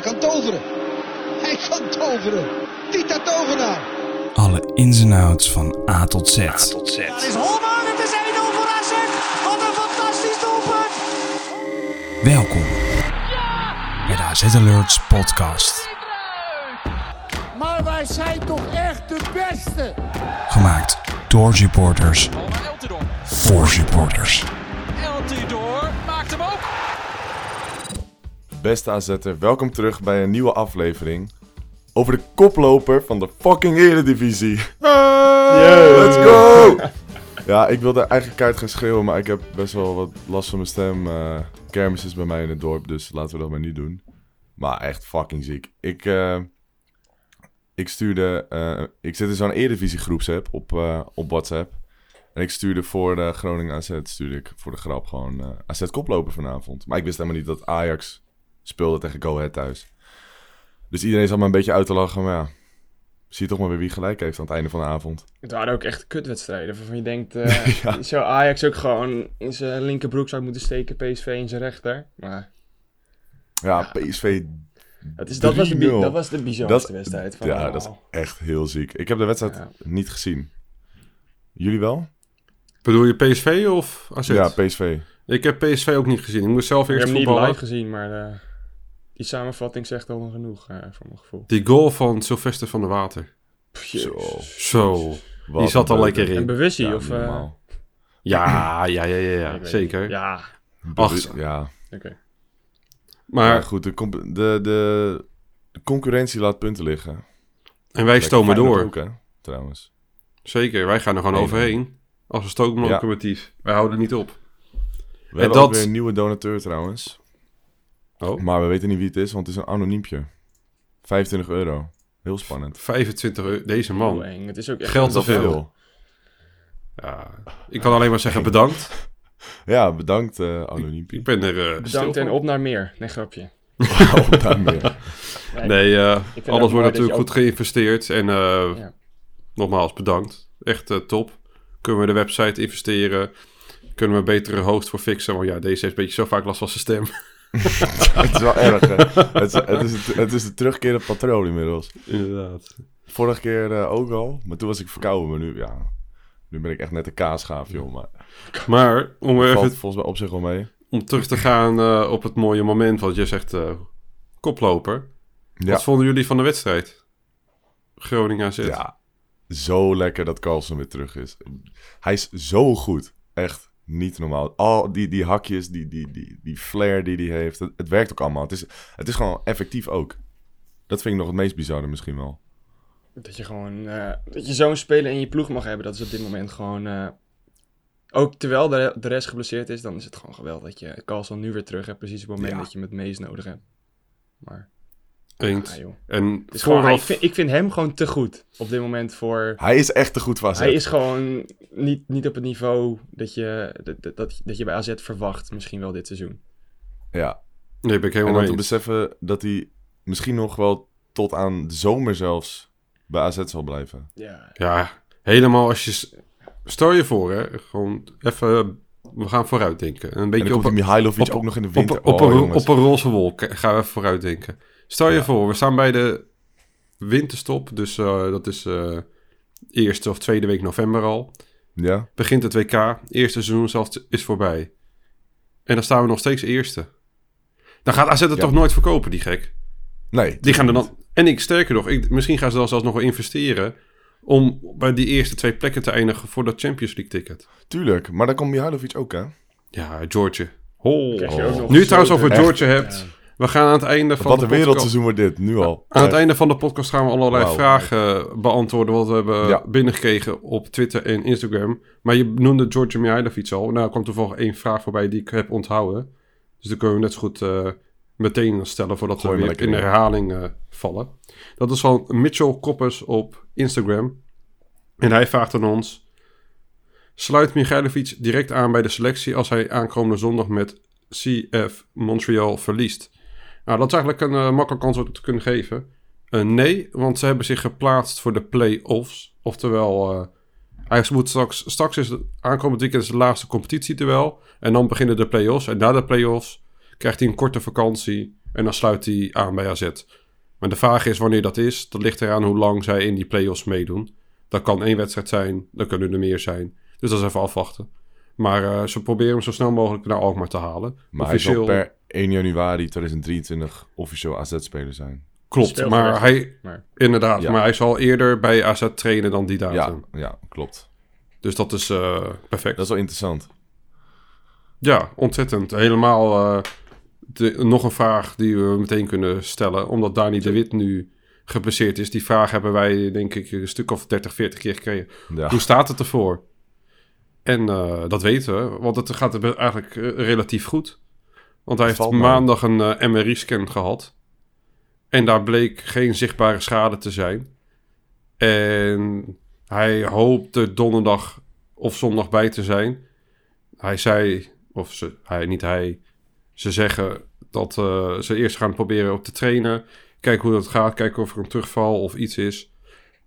kan toveren. Hij kan toveren. Tita Tovenaar. Alle ins en outs van A tot Z. Het is Holman, het is 1-0 voor AZ. Wat een fantastisch doelpunt. Welkom bij de AZ Alerts podcast. Maar wij zijn toch echt de beste. Gemaakt door supporters Oh, maar Eltidoor. voor supporters. Eltidoor maakt hem ook. Beste AZ'er, welkom terug bij een nieuwe aflevering over de koploper van de fucking Eredivisie. Let's go! Ja, ik wilde eigenlijk keihard gaan schreeuwen, maar ik heb best wel wat last van mijn stem. Eh, kermis is bij mij in het dorp, dus laten we dat maar niet doen. Maar echt fucking ziek. Ik, eh, ik stuurde... eh, ik zit in zo'n Eredivisie-groepsapp op, eh, op WhatsApp. En ik stuurde voor de Groningen AZ, stuurde ik voor de grap gewoon eh, AZ koploper vanavond. Maar ik wist helemaal niet dat Ajax speelde tegen Go Ahead thuis. Dus iedereen zat me een beetje uit te lachen, maar ja. Zie je toch maar weer wie gelijk heeft aan het einde van de avond. Het waren ook echt kutwedstrijden waarvan je denkt, eh, zou Ajax ook gewoon in zijn linkerbroek zou moeten steken, PSV in zijn rechter. Maar Ja, PSV, dat, is, dat, was, de, bi- 3-0. dat was de bizarste Dat- wedstrijd. Van, ja, dat is echt heel ziek. Ik heb de wedstrijd Ja. niet gezien. Jullie wel? Bedoel je PSV of AZ? Ja, PSV. ik heb PSV ook niet gezien. Ik moest zelf Ik heb eerst hem niet voetballen. live gezien, maar eh, die samenvatting zegt al genoeg, eh, voor mijn gevoel. Die goal van Sylvester van der Water. Pff, Zo. jezus. Zo. Wat die zat een al lekker En in. bewustie, Ja, of... niet eh, normaal. Ja, ja, ja, ja, ik ja weet zeker. niet. Ja, Ach, ja. oké. Maar Maar, goed, de, comp- de, de, de concurrentie laat punten liggen. en wij stomen Feyenoord door. Ook, hè, trouwens. Zeker, wij gaan er gewoon Nee. overheen. Als een stoomlocomotief. Wij houden niet op. We hebben ook dat- weer een nieuwe donateur trouwens. Oh. Maar we weten niet wie het is, want het is een anoniempje. 25 euro. Heel spannend. 25 euro, deze Heel man. eng. Het is ook echt... Oh. Geld te Dat is veel. Ja. Ik kan alleen maar zeggen bedankt. Ja, bedankt eh anoniempje. Ik ben er eh stil Bedankt en van. op naar meer. Nee, grapje. Op daar meer. Nee, eh, vind ook alles mooi dat wordt je natuurlijk ook- goed geïnvesteerd. En eh, Ja. nogmaals, bedankt. Echt eh, top. Kunnen we de website investeren? Kunnen we een betere host voor fixen? Want ja, deze heeft een beetje zo vaak last van zijn stem. het is wel erg, hè. Het is, het, is het, het is de terugkerende patroon inmiddels. Inderdaad. Vorige keer eh, ook al, maar toen was ik verkouden. Maar nu, ja, nu ben ik echt net een kaasgaaf, joh. Maar Maar om, weer valt even, volgens mij op zich wel mee. om terug te gaan eh, op het mooie moment, wat je zegt, eh, koploper. Ja. Wat vonden jullie van de wedstrijd? Groningen AZ. Ja, zo lekker dat Carlsen weer terug is. Hij is zo goed. Echt niet normaal. Al die, die hakjes, die, die, die, die flair die hij heeft. Het, het werkt ook allemaal. Het is, het is gewoon effectief ook. Dat vind ik nog het meest bizarre misschien wel. Dat je gewoon, eh, dat je zo'n speler in je ploeg mag hebben, dat is op dit moment gewoon, eh, ook terwijl de, de rest geblesseerd is, dan is het gewoon geweldig dat je Carlson nu weer terug hebt, precies op het moment Ja. dat je hem het meest nodig hebt. Maar, Eens. ja, joh. En Het is gewoon, ik, vooraf... vind, ik vind hem gewoon te goed op dit moment voor, Hij is echt te goed voor AZ. hij is gewoon niet, niet op het niveau dat je, dat- dat, dat, dat je bij AZ verwacht, misschien wel dit seizoen. Ja. Nee, ben ik En helemaal dan mee te eens. beseffen dat hij misschien nog wel tot aan de zomer zelfs bij AZ zal blijven. Ja, Ja, helemaal als je... s- Stel je voor, hè. Gewoon even... We gaan vooruit denken. Een En beetje dan op, komt die Mihailovic ook nog in de winter. Op, op, Oh, een, jongens. op een roze wolk eh, gaan we even vooruit denken. Stel je voor, we staan bij de winterstop. Dus eh, dat is eh, eerste of tweede week november al. Ja, Begint het WK. Eerste seizoen zelf is voorbij. En dan staan we nog steeds eerste. Dan gaat AZ het Ja. toch nooit verkopen, die gek. nee. Die gaan er dan... En ik, sterker nog, ik, misschien gaan ze dan zelfs nog wel investeren... om bij die eerste twee plekken te eindigen voor dat Champions League ticket. Tuurlijk, maar dan komt Mihailovic ook, hè? Ja, George. krijg je ook nog Oh. Nu trouwens over gesloten. George hebt... We gaan aan het einde van Wat de een podcast- wereldseizoen wordt dit, nu al. Aan het Echt. einde van de podcast gaan we allerlei Wauw. vragen beantwoorden. Wat we hebben Ja. binnengekregen op Twitter en Instagram. Maar je noemde George Mihailovic al. Nou, er kwam toevallig één vraag voorbij die ik heb onthouden. Dus dan kunnen we net zo goed eh, meteen stellen voordat Gooi we hem weer lekker in in. herhaling eh, vallen. Dat is van Mitchell Koppers op Instagram. En hij vraagt aan ons... Sluit Mihailovic direct aan bij de selectie als hij aankomende zondag met CF Montreal verliest? Nou, dat is eigenlijk een eh, makkelijk antwoord op te kunnen geven. Eh, nee, want ze hebben zich geplaatst voor de play-offs. Oftewel, eh, hij moet straks, straks is het aankomend weekend is de laatste competitie terwijl. En dan beginnen de play-offs. En na de play-offs krijgt hij een korte vakantie. En dan sluit hij aan bij AZ. Maar de vraag is wanneer dat is. Dat ligt eraan hoe lang zij in die play-offs meedoen. Dat kan één wedstrijd zijn, dan kunnen er meer zijn. Dus dat is even afwachten. Maar eh, ze proberen hem zo snel mogelijk naar Alkmaar te halen. Maar hij zal per 1 januari 2023 officieel AZ-speler zijn. Klopt, Speelt maar echt. hij... Maar Inderdaad, Ja. maar hij zal eerder bij AZ trainen dan die Ah, datum. Ja, ja, klopt. Dus dat is eh, perfect. Dat is wel interessant. Ja, ontzettend. Helemaal eh, de- nog een vraag die we meteen kunnen stellen. Omdat Dani de Wit nu geblesseerd is. Die vraag hebben wij denk ik een stuk of 30, 40 keer gekregen. Ja. Hoe staat het ervoor? En eh, dat weten we, want het gaat er eigenlijk eh, relatief goed. Want hij heeft Valt mee. maandag een eh, MRI-scan gehad. En daar bleek geen zichtbare schade te zijn. En hij hoopte donderdag of zondag bij te zijn. Hij zei, of ze, hij, niet hij, ze zeggen dat eh, ze eerst gaan proberen op te trainen. Kijken hoe dat gaat, kijken of er een terugval of iets is.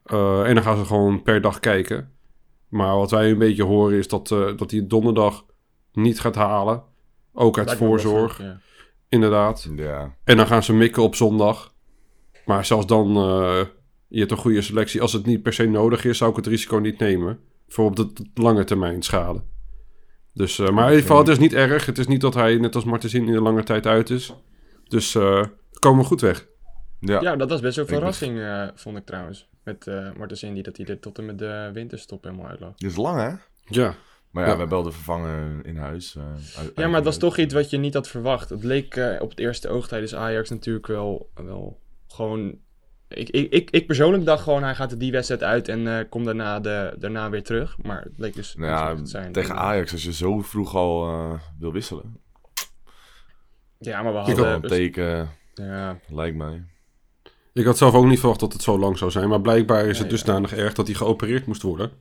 Eh, en dan gaan ze gewoon per dag kijken. Maar wat wij een beetje horen is dat, eh, dat hij het donderdag niet gaat halen. Ook uit lijkt me wel voorzorg, goed, ja. inderdaad. Ja. En dan gaan ze mikken op zondag. Maar zelfs dan, eh, je hebt een goede selectie. Als het niet per se nodig is, zou ik het risico niet nemen. Voor op de t- lange termijn schade. Dus, eh, maar in ieder geval, het is niet erg. Het is niet dat hij, net als Martensini, in de lange tijd uit is. Dus eh komen we goed weg. Ja. Ja, dat was best wel een Ik verrassing, eh, vond ik trouwens. Met eh Martens Indy, dat hij er tot en met de winterstop helemaal uitloopt. Dit is lang, hè? Ja, Maar ja, Ja. we hebben wel de vervanger in huis. eh, uit- Ja, maar het was uit- toch iets wat je niet had verwacht. Het leek eh, op het eerste oog tijdens Ajax natuurlijk wel, wel gewoon... Ik, ik, ik, ik persoonlijk dacht gewoon, hij gaat er die wedstrijd uit en eh komt daarna, de, daarna weer terug. Maar het leek dus niet zo Nou echt ja, te zijn. tegen En, Ajax, als je zo vroeg al eh, wil wisselen. Ja, maar we Dat is wel hadden... een teken, ja, lijkt mij. ik had zelf ook niet verwacht dat het zo lang zou zijn. Maar blijkbaar is het Nee, dusdanig erg dat hij geopereerd moest worden.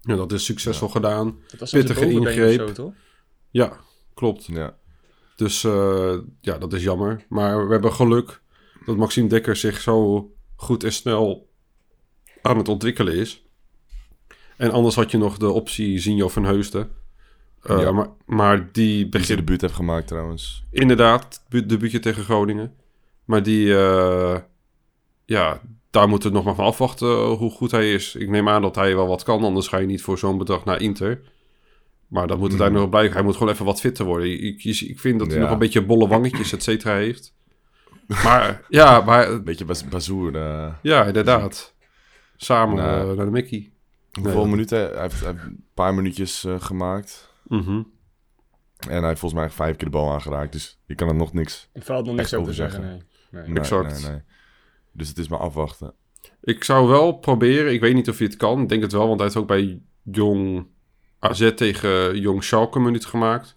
Ja, dat is succesvol gedaan. dat was zelfs een Pittige bovenbeen of ingreep. zo, toch? Ja, klopt. Ja. Dus eh, ja, dat is jammer. Maar we hebben geluk dat Maxime Dekker zich zo goed en snel aan het ontwikkelen is. En anders had je nog de optie Zinjo van Heusden. Eh, Ja. maar, maar die Die ze begint de buurt heeft gemaakt trouwens. inderdaad bu- debuutje tegen Groningen. Maar die, eh, ja, daar moeten we nog maar van afwachten eh, hoe goed hij is. Ik neem aan dat hij wel wat kan, anders ga je niet voor zo'n bedrag naar Inter. Maar dat moet uiteindelijk nog blijken. Hij moet gewoon even wat fitter worden. Ik, ik, ik vind dat hij Hmm. Ja. nog een beetje bolle wangetjes, et cetera, heeft. Maar ja, maar, Beetje bas bazoer. eh. ja inderdaad. Samen Nou. eh, naar de Mickey. hoeveel dat- minuten? Hij heeft, hij heeft een paar minuutjes eh, gemaakt. Mhm. En hij heeft volgens mij vijf keer de bal aangeraakt. Dus je kan er nog niks. Ik valt nog niks Echt over te over zeggen, zeggen. nee. nee. Nee, Exact. nee, nee. Dus het is maar afwachten. Ik zou wel proberen. Ik weet niet of hij het kan. Ik denk het wel, want hij heeft ook bij Jong AZ tegen Jong Schalke een minuut gemaakt.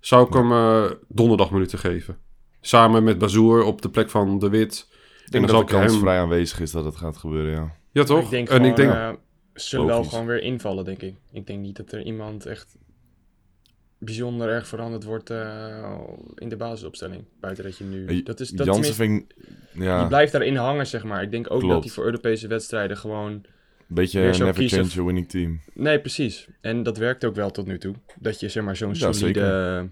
Zou ik hem eh, donderdag minuten geven. Samen met Bazoer op de plek van De Wit. Ik En denk dan dat zal de ik kans hem... vrij aanwezig is dat het gaat gebeuren, ja. Ja, toch? Ik denk en ik denk... eh, ze zullen wel Logisch. gewoon weer invallen, denk ik. Ik denk niet dat er iemand echt bijzonder erg veranderd wordt eh, in de basisopstelling. Buiten dat je nu... Eh, Dat is, dat Jansen tenminste- vind ik... Ja, Die blijft daarin hangen, zeg maar. Ik denk ook dat Ah. Klopt. hij voor Europese wedstrijden gewoon... een beetje weer zo never kiezen. change your winning team. Nee, precies. En dat werkt ook wel tot nu toe. Dat je zeg maar zo'n Ja, solide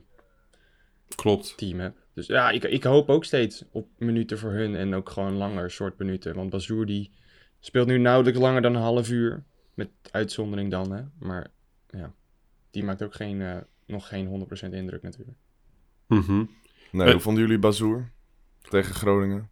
eh, Klopt. team hebt. Dus ja, ik, ik hoop ook steeds op minuten voor hun en ook gewoon langer soort minuten. Want Bazoer die speelt nu nauwelijks langer dan een half uur. Met uitzondering dan, hè. Maar ja, die maakt ook geen, eh, nog geen 100% indruk natuurlijk. Mhm. Nee, Eh. hoe vonden jullie Bazoer tegen Groningen?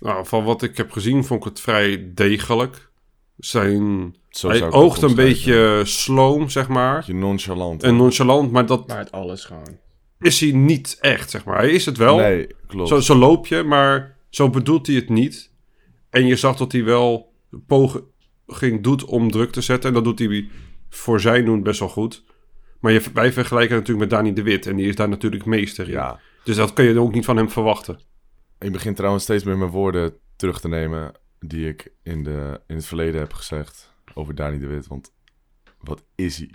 Nou, van wat ik heb gezien vond ik het vrij degelijk. Zijn... Zo Hij zou ik het oogt een omschrijven. beetje eh, sloom, zeg maar. Beetje nonchalant. En nonchalant, maar dat Maar het alles gewoon. is hij niet echt, zeg maar. Hij is het wel. Nee, klopt. Zo, zo loop je, maar zo bedoelt hij het niet. En je zag dat hij wel een poging doet om druk te zetten. En dat doet hij voor zijn doen best wel goed. Maar je, wij vergelijken natuurlijk met Dani de Wit. En die is daar natuurlijk meester in. Ja. Dus dat kun je ook niet van hem verwachten. Ik begin trouwens steeds meer mijn woorden terug te nemen die ik in, de, in het verleden heb gezegd over Dani de Wit. Want wat is hij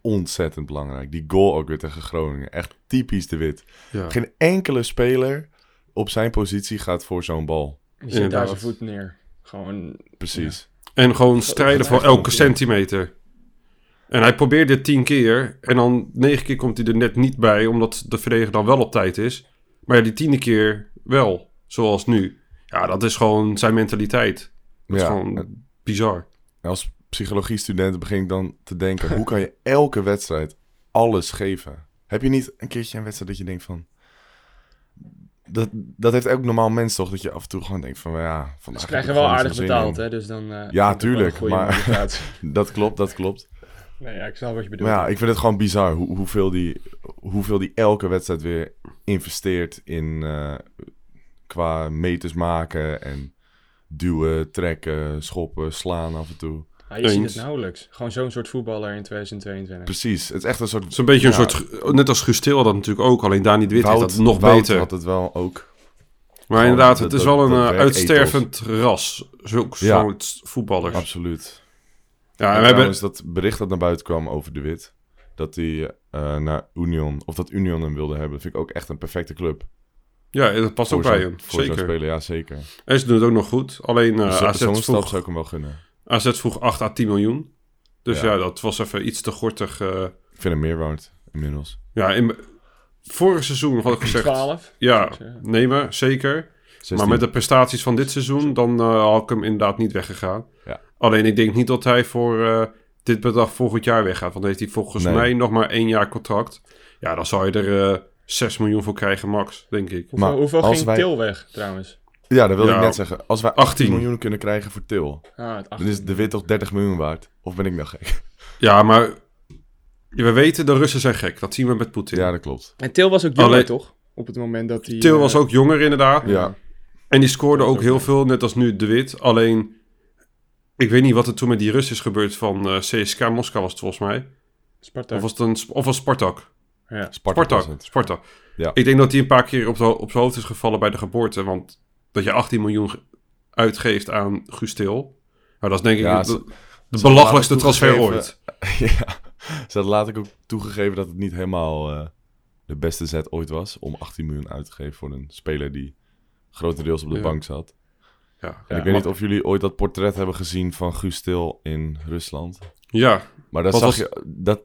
ontzettend belangrijk. Die goal ook weer tegen Groningen. Echt typisch de Wit. Ja. Geen enkele speler op zijn positie gaat voor zo'n bal. Je zit daar Inderdaad. zijn voet neer. Gewoon Precies. En gewoon strijden voor elke centimeter. En hij probeert dit tien keer. En dan negen keer komt hij er net niet bij. Omdat de verdediger dan wel op tijd is. Maar ja, die tiende keer wel, zoals nu. Ja, dat is gewoon zijn mentaliteit. Dat is Ja, gewoon bizar. En als psychologiestudent begin ik dan te denken: hoe kan je elke wedstrijd alles geven? Heb je niet een keertje een wedstrijd dat je denkt van. Dat, dat heeft elk normaal mens toch, dat je af en toe gewoon denkt van, ja... Vandaag Ze heb krijgen ik wel gewoon aardig zo'n zin in. betaald, hè? Dus dan. eh, heb ik Ja, ook wel een tuurlijk, goede maar- motivatie. Dat klopt, dat klopt. nee, ja, ik snap wat je bedoelt. Maar ja, ik vind het gewoon bizar hoe, hoeveel, die, hoeveel die elke wedstrijd weer investeert in... eh, qua meters maken en duwen, trekken, schoppen, slaan af en toe. Ah, je ziet Eens. het nauwelijks. Gewoon zo'n soort voetballer in 2022. Precies, het is echt een soort... Het is een beetje een Ja. soort... Net als Gustil had dat natuurlijk ook. Alleen Dani de Wit heeft Wout- dat nog Wout beter. had het wel ook. Maar dat- inderdaad, het is dat- wel een dat eh, werk uitstervend ras. Zulk Ja. nou soort voetballers. Absoluut. Ja, En we en we hebben... trouwens, dat bericht dat naar buiten kwam over de Wit. Dat hij eh, naar Union, of dat Union hem wilde hebben. vind ik ook echt een perfecte club. Ja, dat past ook bij zo'n- hem. Voor zo'n Zeker. speler, ja zeker. En ze doen het ook nog goed. Alleen eh dus dat- AZ, zo'n stap zou vroeg, ik hem wel gunnen. AZ vroeg 8 à 10 miljoen. Dus ja, Ja. dat was even iets te gortig. eh. Ik vind hem meer waard, inmiddels. ja, in, vorig seizoen had ik gezegd... 12. Ja, Ja. nemen, zeker. 16. Maar met de prestaties van dit seizoen, dan eh, had ik hem inderdaad niet weggegaan. Ja. Alleen ik denk niet dat hij voor eh, dit bedrag volgend jaar weggaat. Want dan heeft hij volgens Nee. mij nog maar één jaar contract. Ja, dan zou je er eh, 6 miljoen voor krijgen, max, denk ik. Hoeveel, Maar hoeveel als ging wij- Til weg, trouwens? Ja, dat wilde Ja. ik net zeggen. Als wij 18 18 miljoen kunnen krijgen voor Til, Ah, het dan is de Wit toch 30 miljoen waard? Of ben ik nou gek? Ja, maar we weten, de Russen zijn gek. Dat zien we met Poetin. Ja, dat klopt. En Til was ook jonger, Alleen- toch? Op het moment dat hij... Til eh, was ook jonger, inderdaad. Ja, En die scoorde ook ook heel mee. veel, net als nu De Wit. Alleen, ik weet niet wat er toen met die Russen is gebeurd van eh, CSK Moskou was het volgens mij. Sparta. Of was, het een, Sp- of was Spartak? Ja. Spartak, was Sparta. het. Sparta. Ja. Ik denk dat hij een paar keer op, de- op zijn hoofd is gevallen bij de geboorte. Want dat je 18 miljoen ge- uitgeeft aan Gustil. Nou, dat is denk ik Ja, de, ze- de ze belachelijkste hadden transfer toegegeven- ooit. ja. Ze had later ook toegegeven dat het niet helemaal eh, de beste zet ooit was om 18 miljoen uit te geven voor een speler die grotendeels op de Ja. bank zat. Ja, En ik weet niet of jullie ooit dat portret hebben gezien van Guus Til in Rusland. Ja, Maar daar Wat zag was- je, dat,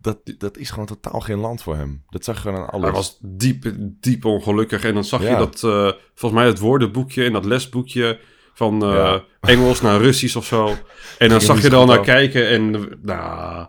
dat, dat is gewoon totaal geen land voor hem. Dat zag je gewoon aan alles. hij was diep, diep ongelukkig. En dan zag je Ja. dat, eh, volgens mij, het woordenboekje en dat lesboekje van eh, Ja. Engels naar Russisch of zo. En dan Ging zag niet je er al goed naar af. kijken en, eh,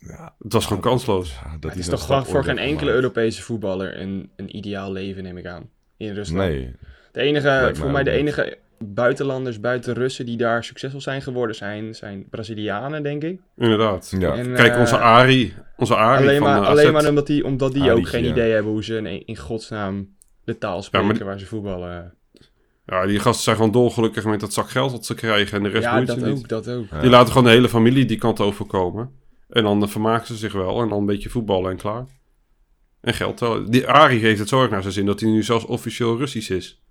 nou, het was gewoon kansloos. Ja, Ah, dat Maar het is zo'n toch gewoon stap voor ooit geen heeft enkele gemaakt. Europese voetballer een, een ideaal leven, neem ik aan. In Rusland. Nee, De enige, Lijkt voor mij mij de ook niet. enige buitenlanders buiten Russen die daar succesvol zijn geworden zijn, zijn Brazilianen, denk ik. Inderdaad. ja. En, Kijk, eh, onze Ari. Onze Ari Alleen van maar, eh, AZ. alleen maar omdat die, omdat die ook Arietje. geen idee hebben hoe ze in, in godsnaam de taal spreken maar die- waar ze voetballen. Ja, die gasten zijn gewoon dolgelukkig met dat zak geld dat ze krijgen en de rest Ja, boeit dat ze ook, niet. dat ook. Die laten gewoon de hele familie die kant overkomen. En dan eh, vermaken ze zich wel en dan een beetje voetballen en klaar. En geld tellen. Die Ari heeft het zorg naar zijn zin dat hij nu zelfs officieel Russisch is.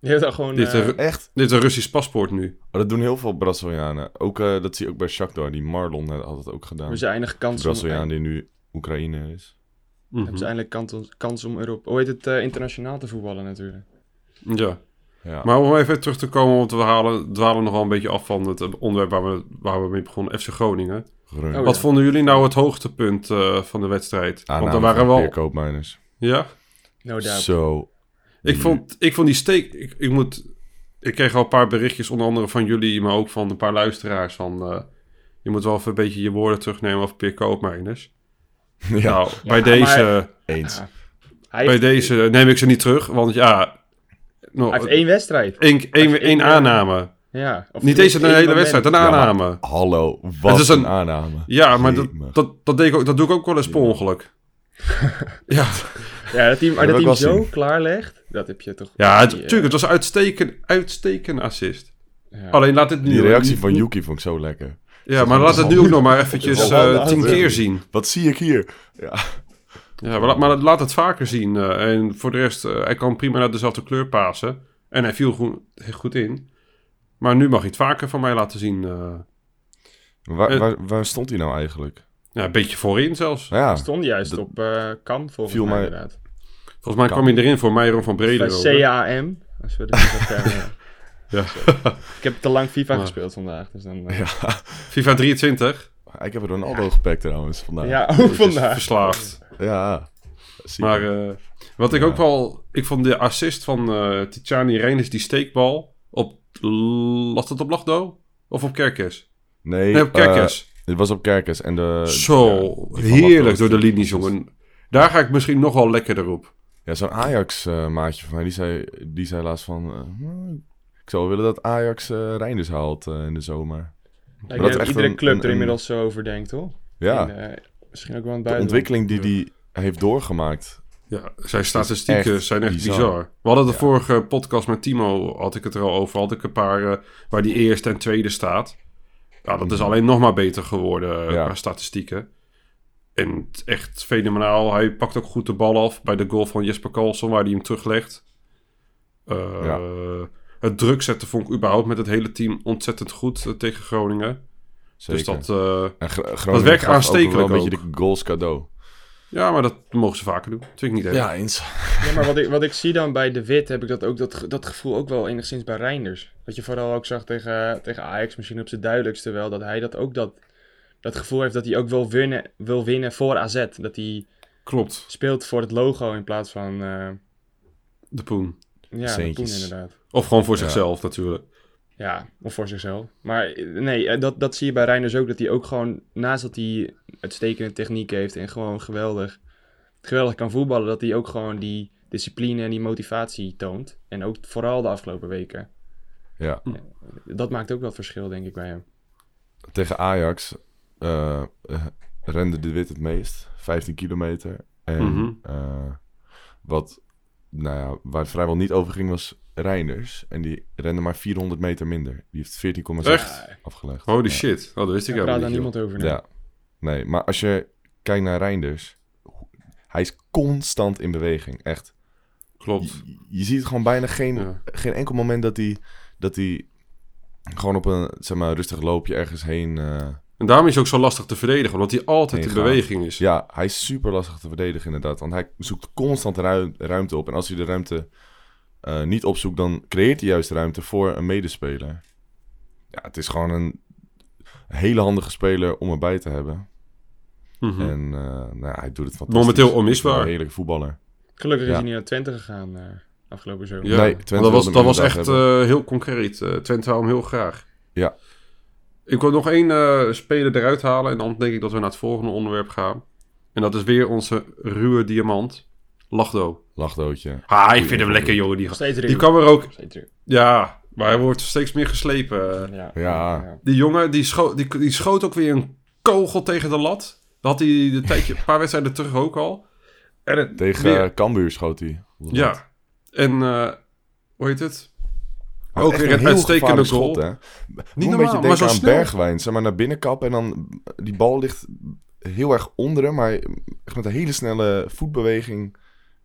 Die hebben dan gewoon... Dit, eh, eh, Ru- echt. Dit is een Russisch paspoort nu. Maar Oh, dat doen heel veel Brazilianen. Ook, eh, dat zie je ook bij Shakhtar. Die Marlon eh, had het ook gedaan. hebben ze eindig De kans om, Braziliaan die nu Oekraïne is. Mhm. hebben ze eindelijk kans, kans om Europa... Hoe heet het? eh, internationaal te voetballen natuurlijk. Ja. Ja. Maar om even terug te komen, want we halen, dwalen nog wel een beetje af van het eh, onderwerp waar we, waar we mee begonnen, FC Groningen. Groningen. Oh, Wat ja. vonden jullie nou het hoogtepunt eh, van de wedstrijd? Aanname want er van waren wel... Peer Koopmeiners. Ja? No doubt. Zo. Mm. Ik vond, ik vond die steek. Ik, ik moet. Ik kreeg al een paar berichtjes, onder andere van jullie, maar ook van een paar luisteraars. Van, eh, je moet wel even een beetje je woorden terugnemen over Peer Koopmeiners. Ja, nou, bij deze, eens. Hij bij heeft, deze neem ik ze niet terug, want ja, hij nog heeft één wedstrijd. één, één, heeft één, één eh, aanname. Ja. Of Niet één- eens een één hele moment. wedstrijd, een aanname. Ja, Hallo, wat Het is een, een- aanname. maar dat, Jemig. dat, dat, deed ik ook, dat doe ik ook wel eens per ongeluk. ja, Ja, dat team, maar Dat dat wil team ik wel zo zien. klaarlegt, dat heb je toch... ja het, die, eh, tuurlijk, het was een uitstekend, uitstekend assist. Ja. Alleen laat dit nu... Die reactie van Yuki vond ik zo lekker. Ja, maar laat het nu ook nog maar eventjes Op de eh, handen. tien keer zien. Wat zie ik hier? Ja, Ja, maar, laat- maar laat het vaker zien. eh, en voor de rest, eh, hij kan prima naar dezelfde kleur pasen. En hij viel goed, goed in. Maar nu mag hij het vaker van mij laten zien. eh. waar, Eh. waar, waar stond hij nou eigenlijk? ja, een beetje voorin zelfs. Nou ja, Stond juist dat- op eh Kam, volgens Viel mij, mij- inderdaad. Volgens mij kwam hij erin voor Meijeron van Bij Brede. CAM. Als we de FIFA termen. Ja. Ik heb te lang FIFA Maar- gespeeld vandaag. Dus dan, eh, FIFA 23, ik heb Ronaldo gepakt trouwens vandaag. ja, ook vandaag. verslaafd. ja. Zie Maar je. eh, Wat ik ook wel... Ik vond de assist van eh Tijani Reinders, die steekbal... Op... Was dat op Lachdo? Of op Kerkes? Nee, Nee, op eh, Kerkers. het was op Kerkers. En de, Zo, ja, die van heerlijk Lachdo- door de linies, jongen. Daar ga ik misschien nog wel lekkerder op. Ja, zo'n Ajax-maatje van mij, die zei, die zei laatst van... eh, "Nou, ik zou wel willen dat Ajax eh Reinders haalt eh, in de zomer. Ja, ik dat denk dat echt iedere een- club een- er een- inmiddels zo over denkt, toch? Ja, En, eh, misschien ook wel aan het de buitenland. ontwikkeling die die heeft doorgemaakt. Ja, zijn statistieken echt zijn echt bizar. bizar. We hadden de vorige podcast met Timo, had ik het er al over. Had ik een paar eh, waar die eerste en tweede staat. Ja, dat is alleen nog maar beter geworden eh, Mhm. Ja. qua statistieken. En het is echt fenomenaal. Hij pakt ook goed de bal af bij de goal van Jesper Karlsson, waar hij hem teruglegt. Eh, Ja. Het druk zetten vond ik überhaupt met het hele team ontzettend goed eh, tegen Groningen. Zeker. Dus dat... eh, en Gro- Groningen dat werkt gaf ook aanstekelijk wel een beetje ook. de goals cadeau. ja, maar dat mogen ze vaker doen. Dat vind ik niet erg. eens. Ja, maar wat ik, wat ik zie dan bij De Wit, heb ik dat, ook, dat, ge- dat gevoel ook wel enigszins bij Reinders. Dat je vooral ook zag tegen, tegen Ajax, misschien op zijn duidelijkste wel, dat hij dat ook dat, dat gevoel heeft dat hij ook wil winnen, wil winnen voor AZ. Dat hij Klopt, speelt voor het logo in plaats van eh de poen. ja, de Poen Centjes. inderdaad. Of gewoon voor zichzelf natuurlijk. Ja, of voor zichzelf. Maar eh, nee, eh, dat, dat zie je bij Reinders ook. Dat hij ook gewoon, naast dat hij uitstekende techniek heeft en gewoon geweldig, geweldig kan voetballen, dat hij ook gewoon die discipline en die motivatie toont. En ook vooral de afgelopen weken. Ja. Hm. Dat maakt ook wel het verschil, denk ik, bij hem. Tegen Ajax eh, eh, rende de Wit het meest. 15 kilometer. En Mhm. eh, wat, nou ja, waar het vrijwel niet over ging was Reinders. En die rende maar 400 meter minder. Die heeft 14,6 Echt? afgelegd. Holy Ja. shit. Oh, dat wist ik Daar helemaal praat niet. daar joh. niemand over. nee. Ja. Nee, maar als je kijkt naar Reinders... Hij is constant in beweging, echt. Klopt. Je, je ziet gewoon bijna geen, Ja. geen enkel moment dat hij, dat hij gewoon op een zeg maar, rustig loopje ergens heen... eh, En daarom is hij ook zo lastig te verdedigen, omdat hij altijd in Ingaan. beweging is. Ja, hij is super lastig te verdedigen inderdaad. Want hij zoekt constant ru- ruimte op. En als hij de ruimte eh, niet opzoekt, dan creëert hij juist ruimte voor een medespeler. Ja, het is gewoon een hele handige speler om erbij te hebben. Mhm. En eh, nou, ja, hij doet het fantastisch. Momenteel onmisbaar. Een heerlijke voetballer. Gelukkig is Ja. hij niet naar Twente gegaan eh, afgelopen zomer. Ja, Nee, want Twente dat was, wilde dat hem was echt inderdaad hebben. eh, heel concreet. Eh, Twente hou hem heel graag. Ja. Ik wil nog één eh, speler eruit halen en dan denk ik dat we naar het volgende onderwerp gaan. En dat is weer onze ruwe diamant, Lachdo. Lachdootje. Ah, ik vind hem lekker, jongen. Die, Nog steeds ruw. die kan er ook... Nog steeds ruw. Ja, maar hij wordt steeds meer geslepen. eh. Ja. Ja. Die jongen, die, scho die, die schoot ook weer een kogel tegen de lat. Dat had hij de tijdje, een paar wedstrijden terug ook al. En het Tegen weer- eh, Cambuur schoot hij. Ja. En eh, hoe heet het? Hij Ook had weer echt een heel uitstekende gevaarlijk goal. hè? Moet normaal, een beetje maar denken zo aan snel. Bergwijn. Zeg maar naar binnen kappen en dan... Die bal ligt heel erg onder hem. Maar echt met een hele snelle voetbeweging...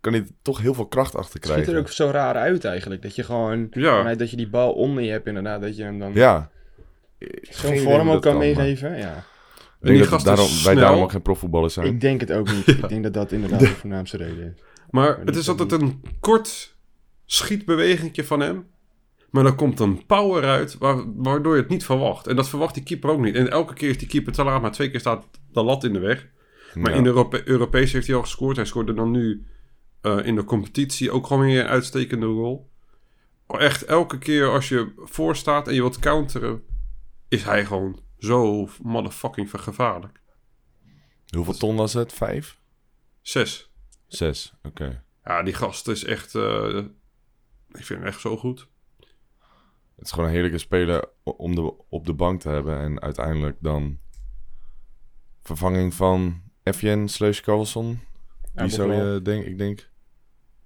kan hij er toch heel veel kracht achter Het ziet krijgen. er ook zo raar uit eigenlijk. Dat je gewoon, Ja. vanuit dat je die bal onder je hebt inderdaad, dat je hem dan Ja. zo'n vorm ook kan meegeven. Ja. Ik denk die dat gast daarom, is wij snel. daarom ook geen profvoetballers zijn. Ik denk het ook niet. Ik denk dat dat inderdaad de voornaamste reden is. Maar het is altijd een kort schietbewegingje van hem. Maar dan komt een power uit wa- waardoor je het niet verwacht. En dat verwacht die keeper ook niet. En elke keer is die keeper te laat, maar twee keer staat de lat in de weg. Maar Ja. in de Europe Europees heeft hij al gescoord. Hij scoorde dan nu eh, in de competitie ook gewoon weer een uitstekende rol. Echt elke keer als je voor staat en je wilt counteren, is hij gewoon zo motherfucking gevaarlijk. Hoeveel ton was het? Vijf? Zes. Zes. Oké. Ja, die gast is echt. eh, ik vind hem echt zo goed. Het is gewoon een heerlijke speler o- om de, op de bank te hebben. En uiteindelijk dan... Vervanging van Evjen slash Carlson. Die zou je, denk ik, denk...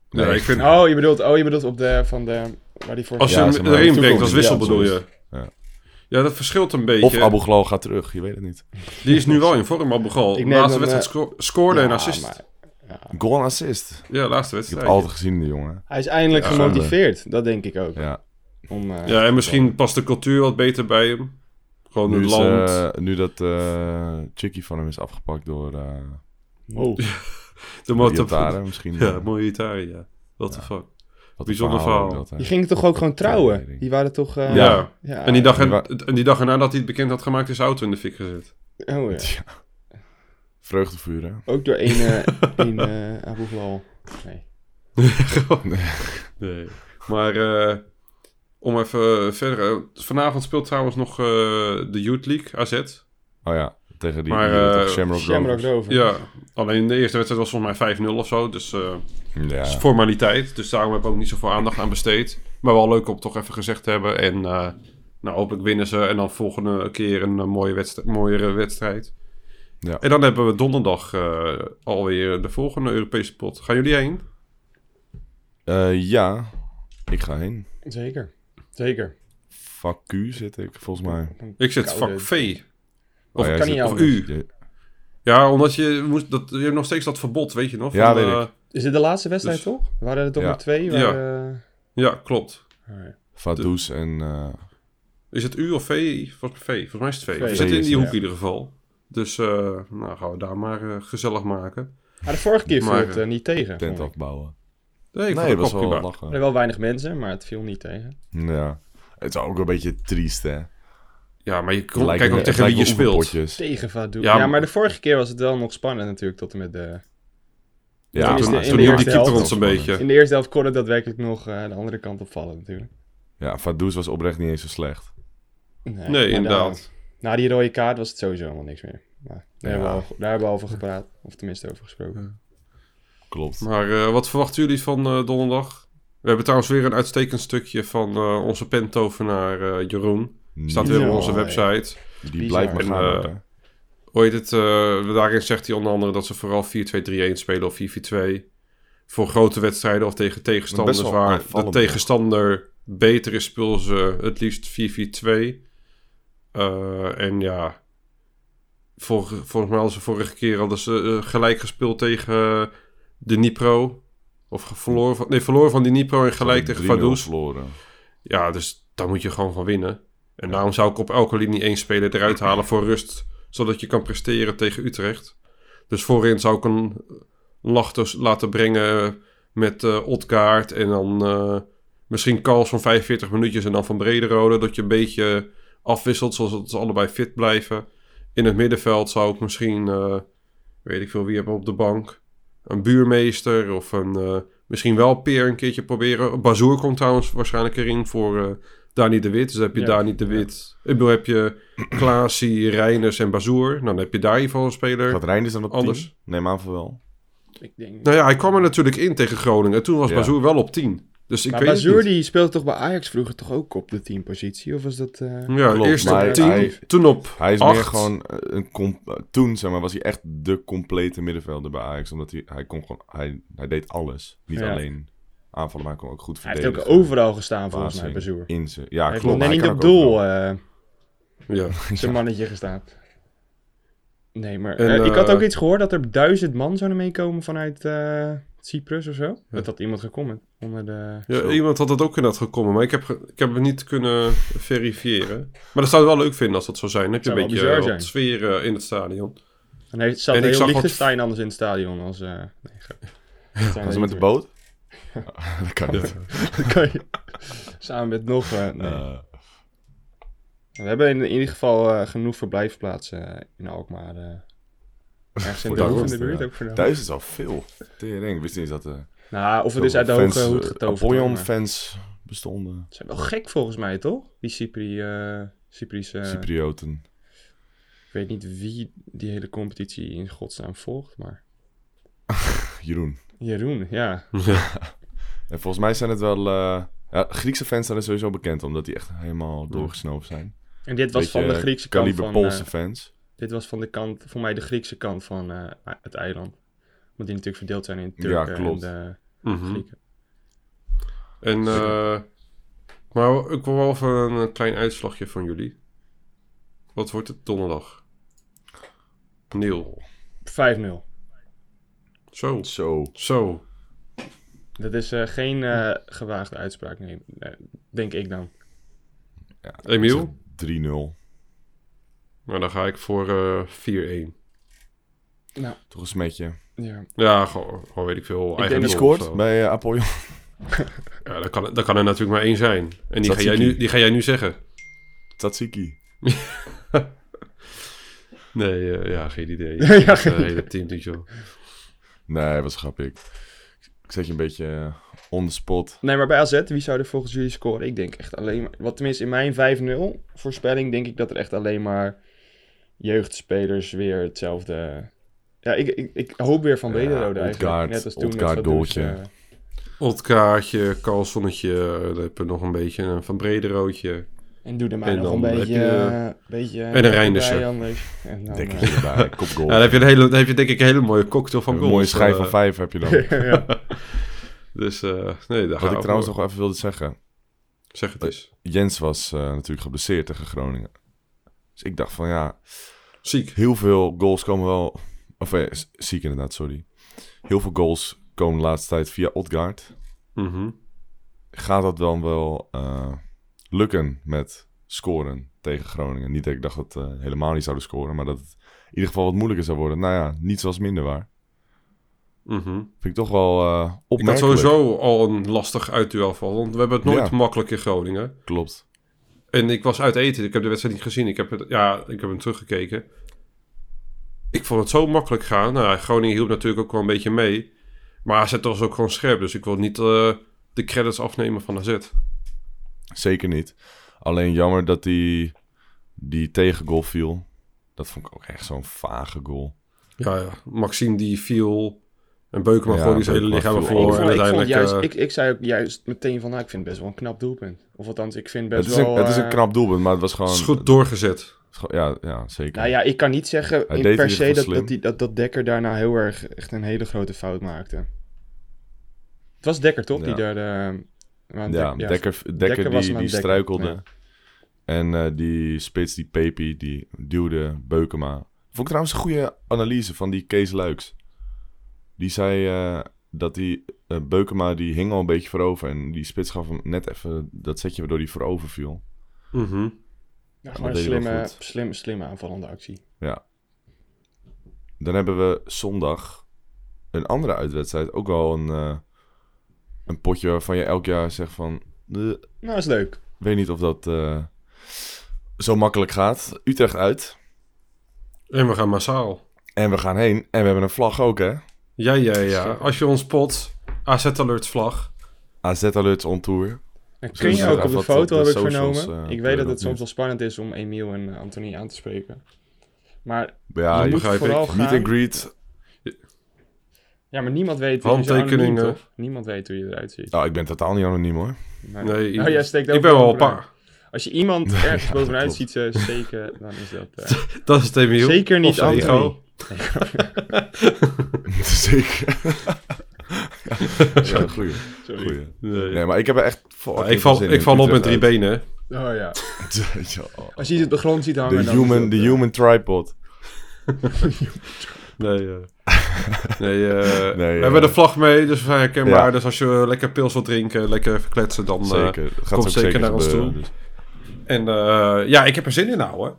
Ja, ik vind, Oh, je bedoelt, oh, je bedoelt op de, van de, waar die voor... Nou, als je Ja, hem zeg maar, erin de brengt als wissel toekomst, bedoel ja, je. Ja. Ja, dat verschilt een Of beetje. Abu Ghlal gaat terug, je weet het niet. Die is nu wel in vorm, Abu Ghal. Ik De neem laatste hem, eh, wedstrijd sco- scoorde Ja, en assist. maar Goal en assist. Ja, laatste Ik heb wedstrijd. het altijd gezien, de jongen. Hij is eindelijk gemotiveerd, dat denk ik ook. Ja. Om, eh, Ja, en misschien past de cultuur wat beter bij hem. Gewoon Nu, het is, land. eh, nu dat eh Chicky van hem is afgepakt door eh oh. de Iataren, motor. misschien. Ja, eh, mooie Italië. Ja. What the fuck. wat bijzonder verhaal. ook dat, eh, hè. Die gingen toch ook gewoon trouwen? Die waren toch... eh, Ja. ja. En, die dag, die en, wa- en die dag erna dat hij het bekend had gemaakt, is zijn auto in de fik gezet. Oh, ja. Vreugdevuur, hè? Ook door één, eh één eh, Abu Ghal. Nee. Gewoon- Nee. Maar eh, om even verder. eh, Vanavond speelt trouwens nog eh, de Youth League AZ. Oh ja, tegen die Maar, die- eh, tegen Shamrock Shamrock Rovers. Dover. Ja, alleen de eerste wedstrijd was volgens mij 5-0 of zo. Dus eh, Ja. is formaliteit. Dus daarom hebben we ook niet zoveel aandacht aan besteed. Maar wel leuk om toch even gezegd te hebben. En eh, nou, hopelijk winnen ze. En dan volgende keer een eh, mooie wedstrijd, mooiere wedstrijd. Ja. En dan hebben we donderdag eh, alweer de volgende Europese pot. Gaan jullie heen? Eh, ja, ik ga heen. Zeker. Zeker. Vak Q zit ik, volgens mij. Oh Ik zit Koude- vak V. Of kan niet Of U. Ja, omdat je, moest, dat, je hebt nog steeds dat verbod, weet je nog? Ja, Van, weet eh, ik. Is dit de laatste wedstrijd Dus- toch? Waren er toch Ja. nog twee? Waar, Ja. eh, ja, klopt. alright. Fadoes en... eh, Is het U of V? Volgens mij V. Volgens mij is het V. V. We zitten in die Ja. hoek in ieder geval. Dus eh, nou, gaan we daar maar eh, gezellig maken. Maar Ah, de vorige keer viel Maar, het eh, niet tegen. tent vond ik. afbouwen. Nee, ik vond nee, het dat was wel ook prima. Er waren lachen. wel weinig mensen, maar het viel niet tegen. Ja. Het is ook een beetje triest, hè. Ja, maar je kon, Lijkt kijk me- ook het tegen wie lijkt je me speelt. oefenpotjes. Tegen Vadou. Ja, Ja, maar- maar de vorige keer was het wel nog spannend natuurlijk, tot en met de... Ja, Toen maar- is de- Toen, in toen hield eerste die keeper helft ons een was beetje. In de eerste helft kon het daadwerkelijk nog eh, de andere kant opvallen natuurlijk. Ja, Fadoes was oprecht niet eens zo slecht. Nee, maar Nee, inderdaad. daar- na die rode kaart was het sowieso helemaal niks meer. Maar daar, hebben Ja. we al, daar hebben we over gepraat, of tenminste over gesproken. Klopt. Maar eh, wat verwachten jullie van eh, donderdag? We hebben trouwens weer een uitstekend stukje van eh, onze pentovenaar eh, Jeroen. Staat weer op Ja. onze website. Die blijft maar En, gaan. eh, ook, hè. Hoe heet het? eh, daarin zegt hij onder andere dat ze vooral 4-2-3-1 spelen of 4-4-2. Voor grote wedstrijden of tegen tegenstanders Best wel waar de aanvallend, tegenstander beter is, spelen ze het liefst 4-4-2. Eh, en ja, vol- volgens mij hadden ze vorige keer hadden ze, eh, gelijk gespeeld tegen eh, de Nipro. Of ge- verloren van, nee, verloren van die Nipro en gelijk tegen 3-0 Vaduz. verloren. Ja, dus daar moet je gewoon van winnen. En daarom zou ik op elke linie één speler eruit halen voor rust. Zodat je kan presteren tegen Utrecht. Dus voorin zou ik een Lachters laten brengen met eh Otkaart. En dan eh, misschien Kals van 45 minuutjes en dan van Brederode. Dat je een beetje afwisselt, zodat ze allebei fit blijven. In het middenveld zou ik misschien, eh, weet ik veel wie hebben op de bank. Een buurmeester of een... eh, Misschien wel Peer een keertje proberen. Bazoer komt trouwens waarschijnlijk erin voor eh Dani de Wit. Dus dan heb je Ja. Dani de Wit. Ik bedoel, heb je Klaasie, Reiners en Bazoer. Nou, dan heb je daar in ieder geval een speler. Gaat Reinders dan op Anders. 10? Neem aan van wel. Ik denk... Nou ja, hij kwam er natuurlijk in tegen Groningen. Toen was Ja. Bazoer wel op 10. Dus ik maar weet Bazoer het niet. die speelde toch bij Ajax vroeger toch ook op de teampositie? Of was dat... eh, Ja, Klopt, eerst maar op 10, hij- toen op Hij is 8. meer gewoon eh, een... com- eh, Toen, zeg maar, was hij echt de complete middenvelder bij Ajax. Omdat hij... Hij, kon gewoon, hij, hij deed alles. Niet Ja. alleen aanvallen, maar hij kon ook goed hij heeft verdedigen. ook overal gestaan volgens mij, Passing, Bazoer. in zijn- Ja, Hij heeft nog klopt. net hij niet kan ook op doel overal. eh, Ja. zijn mannetje gestaan. Nee, maar En, eh, ik had eh, ook iets gehoord dat er duizend man zouden meekomen vanuit eh, Cyprus of zo. Dat had iemand gecomment onder de... Ja, iemand had dat ook inderdaad gekomen, maar ik heb, ge- ik heb het niet kunnen verifiëren. Maar dat zou ik wel leuk vinden als dat zou zijn. Dan heb je Zou een wel beetje bizar eh, wat zijn. sfeer eh, in het stadion. En hij zat En ik heel zag wat- Liechtenstein anders in het stadion als... eh nee, grap. Dat zijn Was we hij met de niet meer. boot? Oh, dat kan niet. Kan je- Samen met nog... eh, nee. Eh, We hebben in, in ieder geval eh, genoeg verblijfplaatsen eh, in Alkmaar. eh ergens Voor in de de hoek in de hoogte, buurt ja. ook voor de Duizend is al veel. Tering, ik wist niet eens dat... eh, hoogte. Nou, of het is uit de fans, hoge hoed eh, getoverd. Apollon maar- fans bestonden. Ze zijn wel gek volgens mij, toch? Die Cypri, eh Cypris, eh, Cyprioten. Ik weet niet wie die hele competitie in godsnaam volgt, maar... Jeroen. Jeroen, ja. En volgens mij zijn het wel... eh, ja, Griekse fans zijn er sowieso bekend, omdat die echt helemaal doorgesnoven zijn. En dit was Beetje, van de eh, Griekse kant kaliber van... Poolse eh, fans. dit was van de kant, voor mij de Griekse kant van eh, het eiland. Want die natuurlijk verdeeld zijn in Ja, Turken klopt. en de Mhm. Grieken. En, eh, maar ik wil wel even een klein uitslagje van jullie. Wat wordt het donderdag? Neil. 5-0. Zo. Zo. Zo. Dat is eh, geen eh, gewaagde uitspraak, nee, eh, denk ik dan. Emiel? 3-0. Nou, dan ga ik voor eh, 4-1. Toch een smetje. Ja. Ja, gewoon, gewoon weet ik veel. denk Eigen Die dat- doel of scoort zo. bij eh, Apollon. Ja, dat kan, dat kan er natuurlijk maar één zijn. En die ga, jij Tsatsiki. nu, die ga jij nu zeggen. Tatsiki. Nee, eh, ja, geen idee. Ja, Het geen hele team niet, joh. Nee, was grappig. Ik zet je een beetje eh, on the spot. Nee, maar bij AZ, wie zou er volgens jullie scoren? Ik denk echt alleen maar... Wat tenminste, in mijn 5-0 voorspelling denk ik dat er echt alleen maar jeugdspelers weer hetzelfde... Ja, ik, ik, ik hoop weer van Ja, Brederode eigenlijk. Odgaard- Net als toen met Odgaard, Vaduz, Doltje. eh, Otkaartje, Carlsonnetje, daar heb je nog een beetje. Een Van Brederootje. En doe er maar En nog dan een heb beetje... je- eh, beetje en een Reindersen. bij anders. En dan, Denk ik eh, hierbij. Kopgoal. Ja, dan heb, je een hele, dan heb je denk ik een hele mooie cocktail van een goals. mooie schijf van eh, vijf heb je dan. Dus eh, nee, daar Wat gaan ik we trouwens nog voor. wel even wilde zeggen. eh, Zeg het eens. Jens was eh, natuurlijk geblesseerd tegen Groningen. Dus ik dacht van ja, Ziek. heel veel goals komen wel... Of eh, s- ziek inderdaad, sorry. Heel veel goals komen de laatste tijd via Odgaard. Mhm. Gaat dat dan wel eh, lukken met scoren tegen Groningen? Niet dat ik dacht dat eh helemaal niet zouden scoren, maar dat het in ieder geval wat moeilijker zou worden. Nou ja, niets was minder waar. mhm. Vind ik toch wel eh Ik had opmerkelijk. sowieso al een lastig uitduel van, want we hebben het nooit Ja. makkelijk in Groningen. Klopt. En ik was uit eten, ik heb de wedstrijd niet gezien. Ik heb, het, ja, ik heb hem teruggekeken. Ik vond het zo makkelijk gaan. Nou, Groningen hielp natuurlijk ook wel een beetje mee. Maar AZ was ook gewoon scherp, dus ik wil niet eh, de credits afnemen van AZ. Zeker niet. Alleen jammer dat die, die tegengoal viel. Dat vond ik ook echt zo'n vage goal. Ja, ja. Maxime die viel en Beukema Ja, gewoon die zijn hele Beukema lichaam viel ervoor. ook. ik, vond, En ik, vond uiteindelijk... juist, eh, ik, ik zei ook juist meteen van, nou, ik vind het best wel een knap doelpunt. Of althans, ik vind best Het is, wel... een, het is een eh, knap doelpunt, maar het was het gewoon... is goed doorgezet. het is gewoon- ja, ja, zeker. Nou ja, ik kan niet zeggen Hij in deed in ieder per se geval dat, dat, die, dat, dat Dekker daarna heel erg echt een hele grote fout maakte. Het was Dekker toch? Ja. Die daar de, maar Ja, Dek- ja, Dekker, Dekker, Dekker was die, hem aan die het dekken, struikelde. ja. En eh, die spits, die Pepi, die duwde Beukema. Vond ik trouwens een goede analyse van die Kees Luiks. Die zei eh, dat die eh, Beukema, die hing al een beetje voorover. En die spits gaf hem net even dat setje waardoor hij voorover viel. Mhm. Ja, gewoon een dat deed hij wel slimme, goed. slimme, slimme aanvallende actie. Ja. Dan hebben we zondag een andere uitwedstrijd. Ook wel een, eh, een potje waarvan je elk jaar zegt van... "Eh, Nou, is leuk. weet niet of dat eh, zo makkelijk gaat. Utrecht uit. En we gaan massaal. En we gaan heen. En we hebben een vlag ook, hè? Ja, ja, ja. Als je ons pot, AZ Alert vlag. AZ Alerts on Tour. En Zullen kun je we ook nog op de even wat op foto, de heb ik socials, vernomen. eh, ik kunnen weet we dat dat het soms doen. wel spannend is om Emiel en eh, Anthony aan te spreken. Maar Ja, je moet begrijp vooral ik. gaan... meet and greet. Ja, maar niemand weet wie je zo anoniem, Handtekeningen. toch? Niemand weet hoe je eruit ziet. Nou, ik ben totaal niet anoniem, hoor. Maar- Nee, Oh, jij steekt ik ook ben wel een overal. paar. Als je iemand ergens bovenuit klopt. ziet eh, steken, dan is dat... eh, Dat is het Emiel. Zeker niet Of Anthony. Ego. Zeker. ja, goeie. goeie. Nee. Nee, maar ik heb er echt... vol- ik val, zin ik in. val op Utrecht met drie uit. benen. Oh ja. Ja. Als je iets op de grond ziet hangen. De dan human, is de Oh, dat, eh, human tripod. Nee, eh, nee, eh, we eh, hebben de vlag mee, dus we zijn herkenbaar. ja. Dus als je lekker pils wilt drinken, lekker verkletsen, dan eh, Zeker. Dat gaat komt ook zeker, zeker naar ons toe. gebeuren, dus. En eh, ja, ik heb er zin in nou, hè.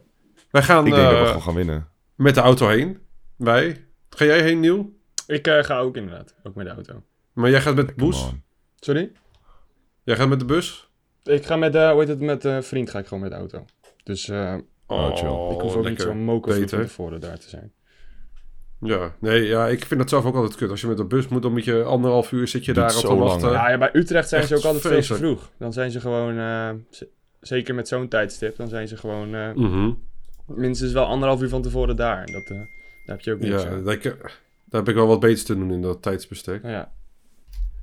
Wij gaan Ik denk dat eh, we gewoon gaan winnen. met de auto heen. Wij. Ga jij heen, Niel? Ik eh, ga ook inderdaad. Ook met de auto. Maar jij gaat met de bus? Man. Sorry? Jij gaat met de bus? Ik ga met, eh hoe heet het, met eh, vriend ga ik gewoon met de auto. Dus eh, Oh, chill. ik hoef ook niet lekker. zo moker van Beter. tevoren daar te zijn. Ja, nee, ja, ik vind dat zelf ook altijd kut. Als je met de bus moet, dan moet je anderhalf uur zit je Duurt daar op te zo lang, wachten. hè? Ah, Ja, ja, bij Utrecht zijn Echt ze ook altijd veel te vreselijk. vroeg. Dan zijn ze gewoon, eh, z- zeker met zo'n tijdstip, dan zijn ze gewoon eh, Mhm. minstens wel anderhalf uur van tevoren daar. Dat, eh, daar heb je ook niks Ja, aan. dat ik- daar heb ik wel wat beters te doen in dat tijdsbestek. Nou ja.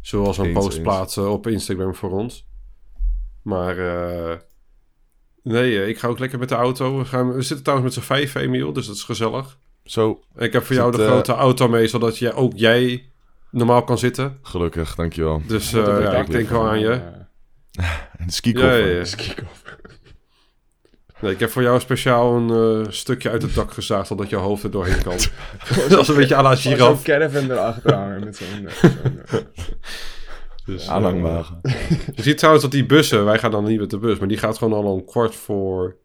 Zoals een Eens, post eens. plaatsen op Instagram voor ons. Maar eh, nee, eh, ik ga ook lekker met de auto. We, gaan, we zitten trouwens met z'n vijf, Emiel, dus dat is gezellig. Zo, Ik heb voor Is jou het, de eh, grote auto mee, zodat jij, ook jij normaal kan zitten. gelukkig, dankjewel. Dus Tot op eh, de ja, dag ik denk liggen wel aan gewoon, je. eh, En de ski Ja, ja, ja. kick-off. Nee, ik heb voor jou speciaal een eh, stukje uit het dak gezaagd, zodat je hoofd er doorheen kan. dat is een beetje à la Gewoon giraf. Zo'n caravan erachter hangen met zo'n... eh, zo'n, eh, Dus, eh, Aanhangwagen. Je ziet trouwens dat die bussen, wij gaan dan niet met de bus, maar die gaat gewoon al om kwart voor,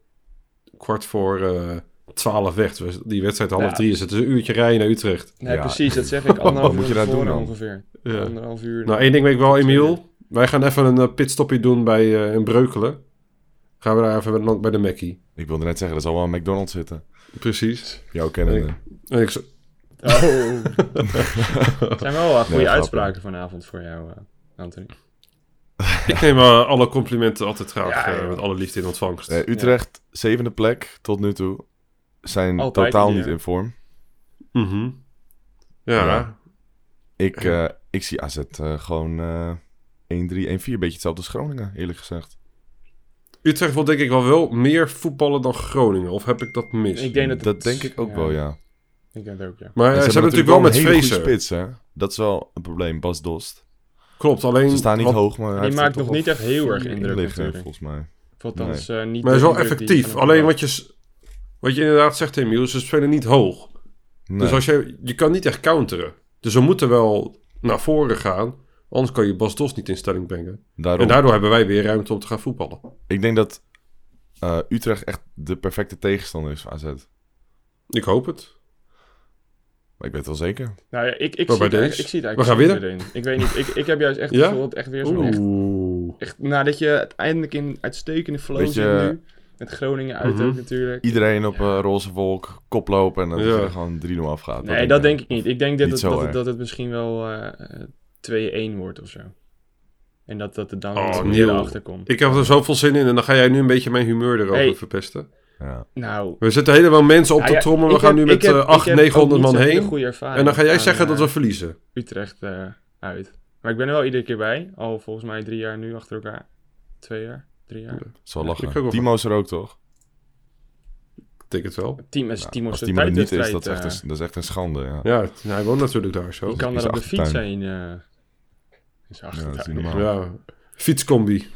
kwart voor eh, twaalf weg. Dus Die wedstrijd half Ja. drie is het dus een uurtje rijden naar Utrecht. Nee, Ja. precies, dat zeg ik. Anderhalf Moet uur je dat tevoren doen dan? ongeveer. nou Ja. Anderhalf uur. Nou, één ding weet ik wel, Emiel. Wij gaan even een eh, pitstopje doen bij eh, in Breukelen. Gaan we daar even bij de, bij de Mackie. Ik wilde net zeggen, er zal wel een McDonald's zitten. Precies. Jou kennen. En ik, z- Oh. zijn wel eh, goede grappig. uitspraken vanavond voor jou, eh Anthony. Ik neem eh, alle complimenten altijd graag Ja, eh, joh. met alle liefde in ontvangst. Eh, Utrecht, zevende plek tot nu toe. Zijn Altijd totaal hier. niet in vorm. Mhm. ja. Ja. Ik, eh, ik zie AZ eh, gewoon eh 1-3, 1-4. Beetje hetzelfde als Groningen, eerlijk gezegd. Utrecht wil denk ik wel, wel meer voetballen dan Groningen. Of heb ik dat mis? Ik denk dat, Dat, het- denk ik ook wel, ja. Ik denk het ook, ja. Maar eh, En ze Eh, hebben natuurlijk wel met een hele goede vrezen. spits, hè. Dat is wel een probleem, Bas Dost. Mm. Klopt, alleen... Ze staan niet wat- hoog, maar hij Die heeft er maakt toch nog wel niet echt heel erg vier in indruk, liggen, natuurlijk. volgens mij. Althans, eh, niet Maar hij is de wel indruk die van effectief. hem Alleen verwacht. wat je, s- wat je inderdaad zegt, Emiel, ze spelen niet hoog. Nee. Dus als je, je kan niet echt counteren. Dus we moeten wel naar voren gaan. Anders kan je Bas Dos niet in stelling brengen. Daarom, En daardoor hebben wij weer ruimte om te gaan voetballen. Ik denk dat eh, Utrecht echt de perfecte tegenstander is voor AZ. Maar Ik hoop het. ik weet het wel zeker. Nou ja, ik, ik, zie Maar bij het, deze? eigenlijk- ik zie het We gaan eigenlijk zo meteen. Ik weet niet, ik, ik heb juist echt het Ja? gevoel dat het echt weer zo'n echt, Oeh. echt... Nadat je uiteindelijk in uitstekende flow Beetje- eh, zit nu. Met Groningen uit Mhm. ook natuurlijk. Iedereen op eh, roze wolk, koplopen en dat Ja. je er gewoon 3-0 afgaat. Nee, dat denk ik niet. Ik denk dat, eh, Niet zo het, eh. dat, het, erg. dat het misschien wel eh, eh, 2-1 wordt of zo. En dat, dat er dan Oh, iets meer Niel. achter komt. Ik heb er zoveel zin in en dan ga jij nu een beetje mijn humeur erover Hey. verpesten. Ja. Nou, We zetten helemaal mensen op nou de ja, trommel. ik We gaan heb- nu ik met heb- eh, ik 800, heb ook niet 900 man zo'n hele heen. goede ervaring En dan ga jij aan, zeggen dat eh, we verliezen. Utrecht eh, uit. Maar ik ben er wel iedere keer bij. Al volgens mij drie jaar nu achter elkaar. Twee jaar, drie jaar. Dat is wel Ik ook lachen. wel- Timo is er ook, toch? Ik denk het wel. Team is Timo Als Dus zijn Timo er niet is, thuiswedstrijd, dat is echt eh, een, dat is echt een schande. Ja. Ja, het- hij woont natuurlijk daar zo. Je kan is er op de achtertuin. fiets zijn. eh is achtertuin. dat is niet normaal. Ja, fietscombi.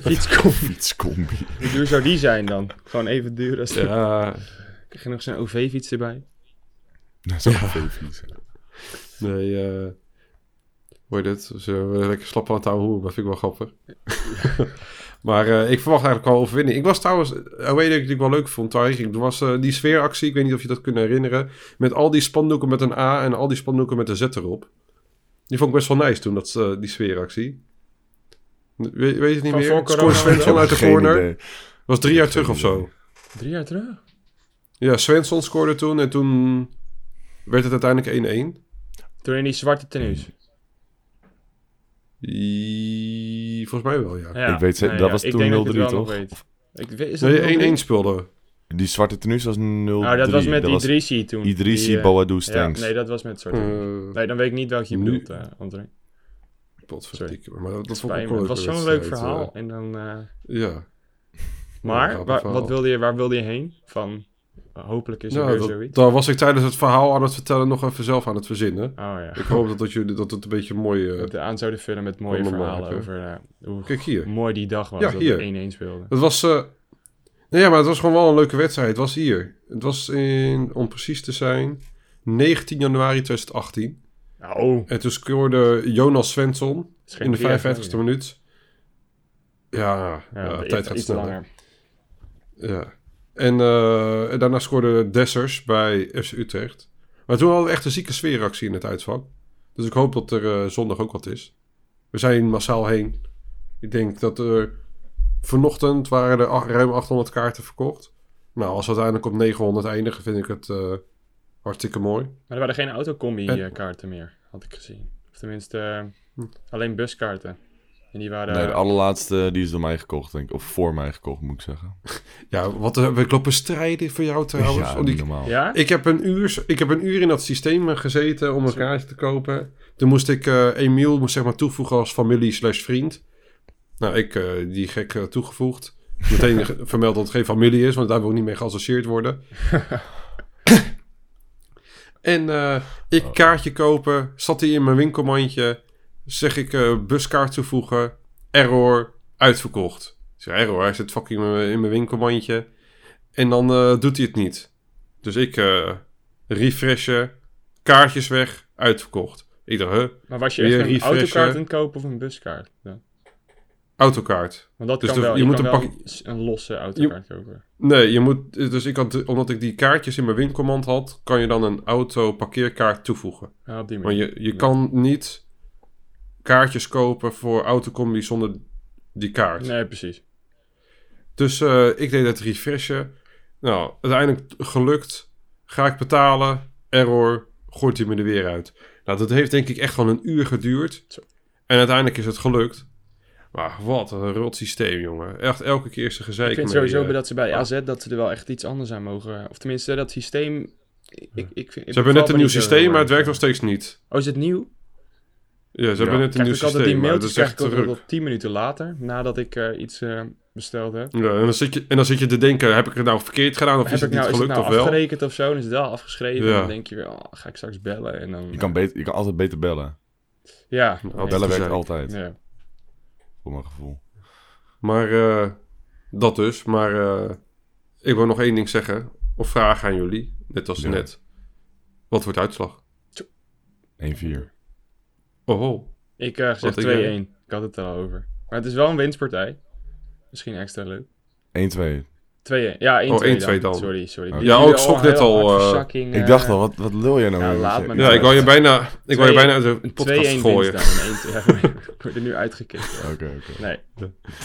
Fietscombi. Fietscombi. Hoe duur zou die zijn dan? Gewoon even duur als de... Ja, Krijg je nog zijn OV-fiets erbij? Dat is ook veel vies. nee. eh hoe heet het? Dus, eh, lekker slap aan het ouwe hoeren, dat vind ik wel grappig. maar eh, ik verwacht eigenlijk wel overwinning. Ik was trouwens, eh, weet ik, die ik wel leuk vond waar ik ging. Er was eh, die sfeeractie, ik weet niet of je dat kunt herinneren. Met al die spandoeken met een A en al die spandoeken met een Z erop. Die vond ik best wel nice toen, dat, eh, die sfeeractie. Weet, weet je het niet Van voor meer? corona Scoorde Svensson uit de Geen corner. idee. was drie jaar terug of zo. Drie jaar terug? Ja, Svensson scoorde toen en toen werd het uiteindelijk 1-1. Toen in die zwarte tenues. I- Volgens mij wel, ja. Ja, Ik weet ze- dat was ik toen denk dat ik 0-3 het wel nog toch? weet. Ik weet, is dat Nee, 1-1 0-3? speelde. Die zwarte tenues was 0-3. Nou, dat was met was Idrissi toen. Idrissi, Die, eh, Boadou, ja, Stengs. Nee, dat was met soort. Eh, nee, dan weet ik niet welke je nu- bedoelt, eh André. Potverdikke. Maar dat, dat vond ik Spijt ook me. wel Het was een zo'n leuk wedstrijd, verhaal. eh. En dan, eh, ja. maar, grappig waar, verhaal. wat wilde je, waar wilde je heen? Van, eh, hopelijk is er ja weer Nou, dat, zoiets. daar was ik tijdens het verhaal aan het vertellen nog even zelf aan het verzinnen. Oh ja. Ik hoop dat, dat jullie dat het een beetje mooi... eh, De aan zouden vullen met mooie Allemaal verhalen maken. over eh, hoe Kijk hier. mooi die dag was Ja, dat hier. we 1-1 speelden. Het was... eh, nee, ja, maar het was gewoon wel een leuke wedstrijd. Het was hier. Het was in, om precies te zijn, 19 januari 2018. Nou, En toen scoorde Jonas Svensson is geen In de drie jaar 55ste geleden. minuut. Ja, ja, Ja, de iets- tijd gaat iets sneller. langer. Ja. En eh, en daarna scoorde Dessers bij FC Utrecht. Maar toen hadden we echt een zieke sfeeractie in het uitvak. Dus ik hoop dat er eh, zondag ook wat is. We zijn massaal heen. Ik denk dat er vanochtend waren er ach- ruim 800 kaarten verkocht. Nou, als we uiteindelijk op 900 eindigen, vind ik het eh, hartstikke mooi. Maar er waren geen En- Hm. autocombi-kaarten meer, had ik gezien. Of tenminste, eh, alleen buskaarten. En die waren... Nee, de allerlaatste die is door mij gekocht, denk ik. Of voor mij gekocht, moet ik zeggen. Ja, wat eh, we lopen strijden voor jou trouwens. ja, Oh, die- niet normaal. ja? Ik heb, een uur, ik heb een uur in dat systeem eh, gezeten om een kaartje te kopen. Toen moest ik eh Emiel moest zeg maar, toevoegen als familie slash vriend. Nou, ik eh, die gek eh, toegevoegd. Meteen ge- vermeld dat het geen familie is, want daar wil ik niet mee geassocieerd worden. en eh, ik kaartje kopen, zat hij in mijn winkelmandje. Zeg ik eh, buskaart toevoegen, error, uitverkocht. Ik zeg error, hij zit fucking in mijn- in mijn winkelmandje. En dan eh, doet hij het niet. Dus ik eh refreshen, kaartjes weg, uitverkocht. Ik dacht, huh, Maar was je Weer echt een refreshen. autokaart aan het kopen of een buskaart? Ja. autokaart. Want dat Dus kan de- wel. je Je, moet kan een wel pakje- s- een losse autokaart kopen. Nee, je moet, dus ik had, omdat ik die kaartjes in mijn winkelmand had, kan je dan een auto parkeerkaart toevoegen. Ja, op die Want manier. je, je kan niet kaartjes kopen voor autocombi zonder die kaart. Nee, precies. Dus eh, ik deed het refreshen. Nou, uiteindelijk t- gelukt. Ga ik betalen. Error. gooit hij me er weer uit. Nou, dat heeft denk ik echt wel een uur geduurd. En uiteindelijk is het gelukt. Maar wat een rot systeem, jongen. Echt elke keer is er gezeik Ik vind mee, sowieso eh. dat ze bij AZ dat ze er wel echt iets anders aan mogen. Of tenminste, dat systeem... Ik, ik, ik vind, Ze hebben net een nieuw systeem, maar het werkt nog steeds niet. Oh, is het nieuw? Ja, ze hebben net een krijg nieuw ik altijd die systeem, maar dat mailtjes is krijg echt ik ook nog druk. tot 10 minuten later, nadat ik eh, iets eh, besteld heb. Ja, en, dan zit je, en dan zit je te denken, heb ik het nou verkeerd gedaan of is heb het ik nou, niet is het gelukt nou of wel? afgerekend of zo? En is het wel afgeschreven? Ja. Dan denk je weer, oh, ga ik straks bellen? En dan, Je kan, beter, je kan altijd beter bellen. ja. altijd. Bellen gezeik. werkt altijd, Ja. voor mijn gevoel. Maar eh, dat dus. Maar eh, ik wil nog één ding zeggen. Of vragen aan jullie. Net als Ja. net. Wat wordt de uitslag? 1-4. Oh, oh. Ik eh zeg Wat 2-1. denk jij? Ik had het er al over. Maar het is wel een winstpartij. Misschien extra leuk. 1-2. 2-1. Ja, 1-2 Oh, 1-2 dan. dan. Sorry, sorry. Ja, Die- die ook al schrok heel net al, hard eh, verzakking, eh, Ik dacht al, wat, wat lul jij nou? Ja, weer? laat me Ja, ik wou je bijna, ik wou je bijna uit de podcast 2-1 winst gooien. dan. en 1-2 ja, Ik word er nu uitgekikt. hoor. Oké, oké. Nee.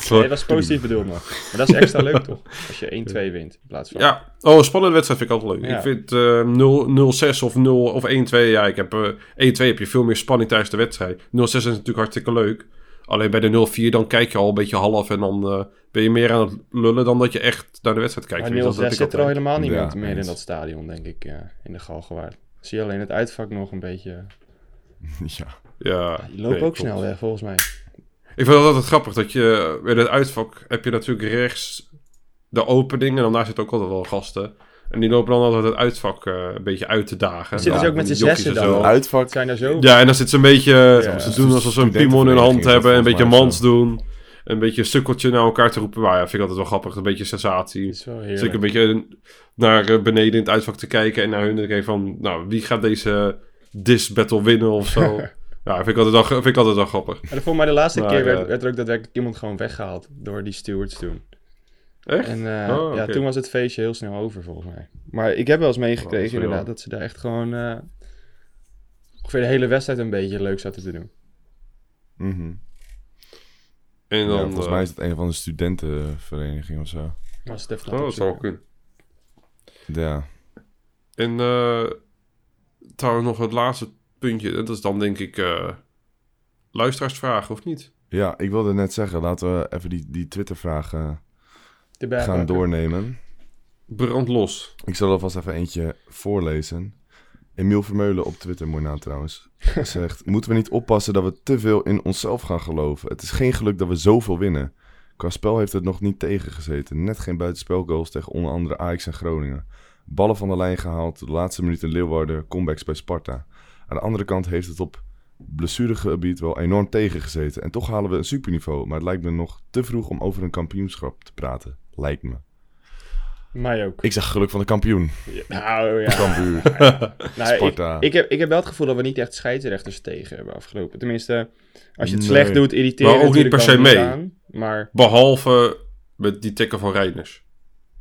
nee, dat was positief bedoeld nog. Maar dat is extra leuk toch? Als je 1-2 wint in plaats van... Ja, oh, een spannende wedstrijd vind ik altijd leuk. Ja. Ik vind eh 0 0-6 of 0 of 1-2. Ja, ik heb, eh, 1-2 heb je veel meer spanning tijdens de wedstrijd. 0-6 is natuurlijk hartstikke leuk. Alleen bij de 0-4 dan kijk je al een beetje half en dan eh, ben je meer aan het lullen dan dat je echt naar de wedstrijd kijkt. Maar Weet je, 0 dat heb ik zit er al altijd. helemaal niet Ja, meer- meer in eens. dat stadion, denk ik, eh, in de Galgenwaard. Zie je alleen het uitvak nog een beetje. Ja. Ja, Die lopen nee, ook klopt. snel weg, volgens mij. Ik vind het altijd grappig dat je bij het uitvak heb je natuurlijk rechts de opening en dan daar zitten ook altijd wel gasten. En die lopen dan altijd het uitvak eh, een beetje uit te dagen. Zitten ze Ja, ook met die z'n jockeys zessen en dan? zo. Uit- Uitvak. Het zijn er zo. Ja, en dan zitten ze een beetje, Ja. ze doen alsof ze een piemon in hun hand Studentenvereniging hebben, is een dat beetje volgens mij mans doen, een beetje sukkeltje naar elkaar te roepen. Maar ja, vind ik altijd wel grappig, een beetje sensatie. is wel Dus ik een heerlijk. beetje naar eh, beneden in het uitvak te kijken en naar hun te kijken van, nou, wie gaat deze dis battle winnen of zo. ja, vind ik altijd wel, vind ik altijd wel grappig. En volgens mij de laatste Maar, keer werd, eh, werd er ook daadwerkelijk iemand gewoon weggehaald door die stewards toen. Echt? En eh, Oh, ja, oké. toen was het feestje heel snel over, volgens mij. Maar ik heb wel eens Oh, dat meegekregen, is wel inderdaad, dat ze daar echt gewoon eh, ongeveer de hele wedstrijd een beetje leuk zaten te doen. Mhm. En Ja, dan, volgens eh, mij is het een van de studentenvereniging of zo. Was het even Oh, dat zou wel opzoeken. kunnen. Ja. En eh, trouwens nog het laatste puntje. Dat is dan denk ik eh, luisteraarsvragen, of niet? Ja, ik wilde net zeggen, laten we even die, die Twitter-vraag eh, Erbij gaan pakken. doornemen. Brand los. Ik zal er alvast even eentje voorlezen. Emiel Vermeulen op Twitter, mooi naam trouwens, zegt... Moeten we niet oppassen dat we te veel in onszelf gaan geloven? Het is geen geluk dat we zoveel winnen. Qua spel heeft het nog niet tegengezeten. Net geen buitenspelgoals tegen onder andere Ajax en Groningen. Ballen van de lijn gehaald, de laatste minuut in Leeuwarden, comebacks bij Sparta. Aan de andere kant heeft het op blessuregebied wel enorm tegengezeten. En toch halen we een superniveau, maar het lijkt me nog te vroeg om over een kampioenschap te praten. Lijkt me. Mij ook. Ik zeg geluk van de kampioen. Nou ja. Kambuur. Nou, ik- Sparta. Ik, heb, ik heb wel het gevoel dat we niet echt scheidsrechters tegen hebben afgelopen. Tenminste, als je het Nee. slecht doet, irriteren Maar ook niet natuurlijk per se kan het mee. aan, maar Behalve met die tikken van Reiners.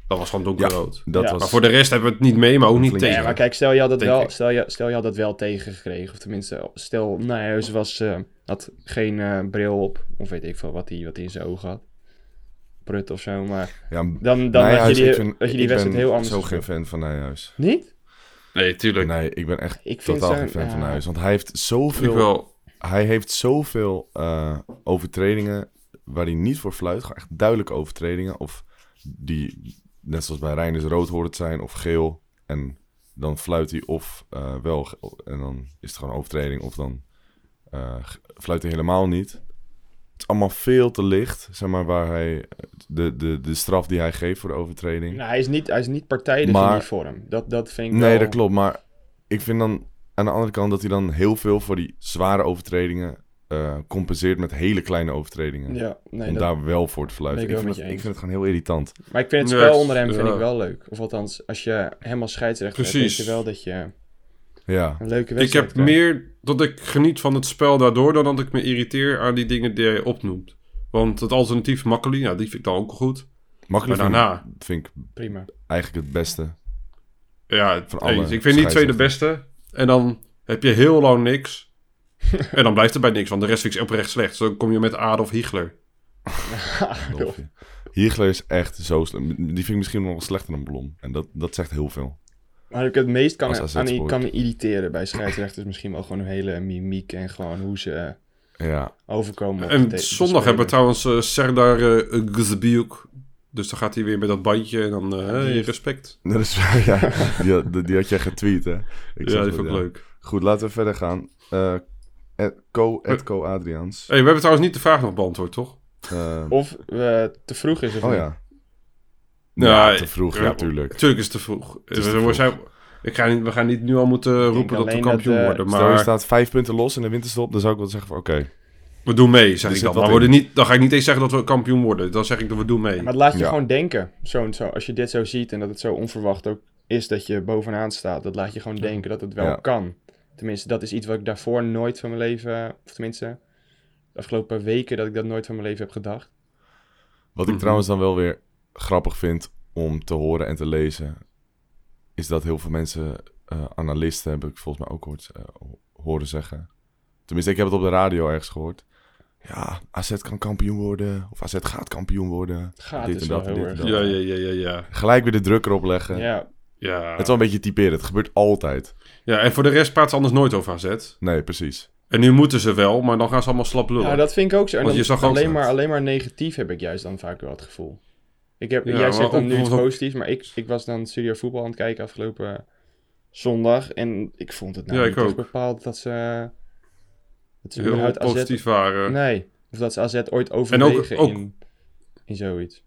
Dat was gewoon Ja, donkerrood. dat Ja. Maar was voor de rest hebben we het niet mee, maar ook niet Flink. tegen. ja, maar kijk, stel je had dat Denk wel, ik. stel je, stel je had dat wel tegengekregen. Of tenminste, stel Nijhuis was, eh, had geen eh, bril op. Of weet ik veel wat hij wat die in zijn ogen had. Prut of zo. Maar Nou Ja, m- dan, dan had Nijhuis, je die, ik vind- had je die ik wedstrijd ben heel anders. zo geen gespeeld. fan van Nijhuis. Niet? Nee, tuurlijk. Nee, ik ben echt Ik vind totaal zo'n- geen fan van ja. Nijhuis. Want hij heeft Ik zoveel, wel. hij heeft zoveel eh, overtredingen waar hij niet voor fluit. Gewoon Echt duidelijke overtredingen. Of die, net zoals bij Reinders, rood hoort het zijn of geel. En dan fluit hij of eh, wel. ge- En dan is het gewoon overtreding. Of dan eh, ge- fluit hij helemaal niet. Het is allemaal veel te licht, zeg maar, waar hij... De, de, de straf die hij geeft voor de overtreding. Nou, hij, is niet hij is niet partijdig in Maar- die vorm. Dat, dat vind ik Nee, wel- dat klopt. Maar ik vind dan aan de andere kant dat hij dan heel veel voor die zware overtredingen eh, compenseert met hele kleine overtredingen. Ja, nee, om dat- daar wel voor te fluiten. Ben Ik, ik wel vind, met het, je ik eens. vind het gewoon heel irritant. Maar ik vind het Ja, spel het- onder hem vind ja. ik wel leuk. Of althans, als je hem als scheidsrechter Precies. hebt, weet je wel dat je Ja, een leuke Ik wedstrijd heb krijgt. meer dat ik geniet van het spel daardoor dan dat ik me irriteer aan die dingen die hij opnoemt. Want het alternatief Makkeli, nou, die vind ik dan ook goed. makkelijk Maar daarna- vind, ik- vind ik Prima. eigenlijk het beste. Ja, Van eens. alle ik vind die twee de scheidsrechters. beste. En dan heb je heel lang niks. en dan blijft het bij niks, want de rest vind ik oprecht slecht. Zo kom je met Adolf Hitler. Dolfje. Hiegler is echt zo slecht. Die vind ik misschien nog wel slechter dan Blom. En dat, dat zegt heel veel. Waar ik het meest Als kan, AZ aan, sport. kan me irriteren bij scheidsrechters misschien wel gewoon hun hele mimiek en gewoon hoe ze eh, Ja. overkomen. op de te- En de zondag hebben we speler. trouwens eh, Serdar eh, Gzebiuk. Dus dan gaat hij weer met dat bandje en dan eh, hey, die- respect. Dat is, ja die, had, die had jij getweet, hè? Ik zag ja, die dat, vond ik ja. leuk. Goed, laten we verder gaan. Eh Ed- Co, Edco Adriaans. Hey, we hebben trouwens niet de vraag nog beantwoord, toch? Eh, Of eh, te vroeg is of oh niet. ja. Ja, te vroeg, eh, ja, tuurlijk. Tuurlijk is het te vroeg. is we, te we vroeg. Zijn, ik ga niet, we gaan niet nu al moeten roepen dat we alleen kampioen dat, eh, worden, Stel je maar staat vijf punten los in de winterstop, dan zou ik wel zeggen van oké. we doen mee, zeg Er ik zit wat dan. Maar we worden niet, dan ga ik niet eens zeggen dat we kampioen worden. Dan zeg ik dat we doen mee. Maar het laat je Ja. gewoon denken. Zo en zo. Als je dit zo ziet en dat het zo onverwacht ook is dat je bovenaan staat. Dat laat je gewoon denken dat het wel Ja. kan. Tenminste, dat is iets wat ik daarvoor nooit van mijn leven... Of tenminste, de afgelopen weken dat ik dat nooit van mijn leven heb gedacht. Wat ik trouwens dan wel weer grappig vind om te horen en te lezen, is dat heel veel mensen, eh, analisten heb ik volgens mij ook hoort, eh, horen zeggen. Tenminste, ik heb het op de radio ergens gehoord. Ja, AZ kan kampioen worden, of AZ gaat kampioen worden. Gaat Dit is en wel dat en heel dit en erg. dat. Ja, ja, ja, ja, ja. Gelijk weer de druk erop leggen. Ja, Ja. Het is wel een beetje typeren, het gebeurt altijd. ja, en voor de rest praat ze anders nooit over AZ. Nee, precies. En nu moeten ze wel, maar dan gaan ze allemaal slap lullen. Ja, dat vind ik ook zo. En Want dan, je zag ook alleen, dat. maar, alleen maar negatief heb ik juist dan vaak wel het gevoel. Ik heb, Ja, jij maar zegt dan ook nu iets bijvoorbeeld- positiefs, maar ik, ik was dan studio voetbal aan het kijken afgelopen zondag. En ik vond het nou Ja, niet ik echt ook. bepaald dat ze, dat ze heel überhaupt positief eh, AZ... waren. Nee, of dat ze AZ ooit overwegen ook- In, in zoiets.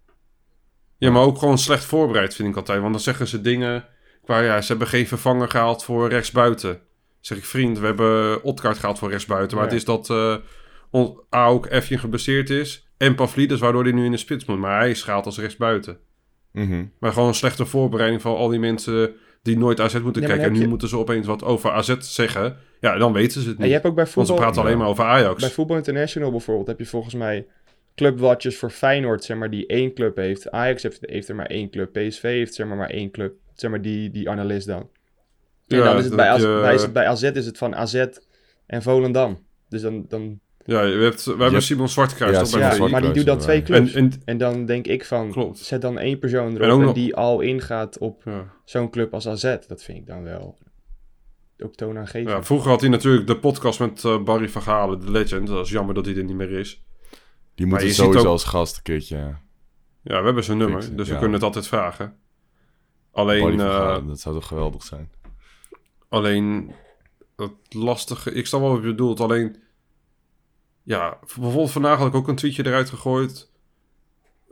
Ja, maar ook gewoon slecht voorbereid vind ik altijd. Want dan zeggen ze dingen qua, ja, ze hebben geen vervanger gehaald voor rechtsbuiten. Dan Zeg ik, vriend, we hebben Otkaart gehaald voor rechtsbuiten. Maar Ja. het is dat eh on- Aok Effje geblesseerd is. En Pavlidis, waardoor hij nu in de spits moet. Maar hij is gehaald als rechtsbuiten. Mhm. Maar gewoon een slechte voorbereiding van al die mensen die nooit AZ moeten maar dan kijken. En heb nu je- moeten ze opeens wat over AZ zeggen. Ja, dan weten ze het niet. En je hebt ook bij Want ze voetbal... praten alleen maar over Ajax. Bij Voetbal International bijvoorbeeld heb je volgens mij clubwatches voor Feyenoord, zeg maar, die één club heeft. Ajax heeft, heeft er maar één club. PSV heeft zeg maar maar één club. Zeg maar die, die analist dan. En Ja, dan is het dat bij, heb AZ, je- bij, is het- bij AZ is het van AZ en Volendam. Dus dan... dan Ja, je hebt, we hebben hebt- Simon Zwartkruis Ja, toch bij Simon ja, VI? maar die doet dan inderdaad. twee clubs. En, En, en, dan denk ik van, Klopt. zet dan één persoon erop En ook en, nog- die al ingaat op ja. zo'n club als AZ. Dat vind ik dan wel ook toonaangevend. Ja, vroeger had hij natuurlijk de podcast met eh, Barry van Galen, de legend. Dat is jammer dat hij er niet meer is. Die Maar moeten je ziet sowieso ook- als gast een keertje. eh, Ja, we hebben zijn nummer, Fixen, dus ja. we kunnen het altijd vragen. Barry Alleen, van eh, Galen, dat zou toch geweldig zijn. alleen het lastige... Ik snap wel wat je bedoelt, alleen... Ja, v- bijvoorbeeld vandaag had ik ook een tweetje eruit gegooid.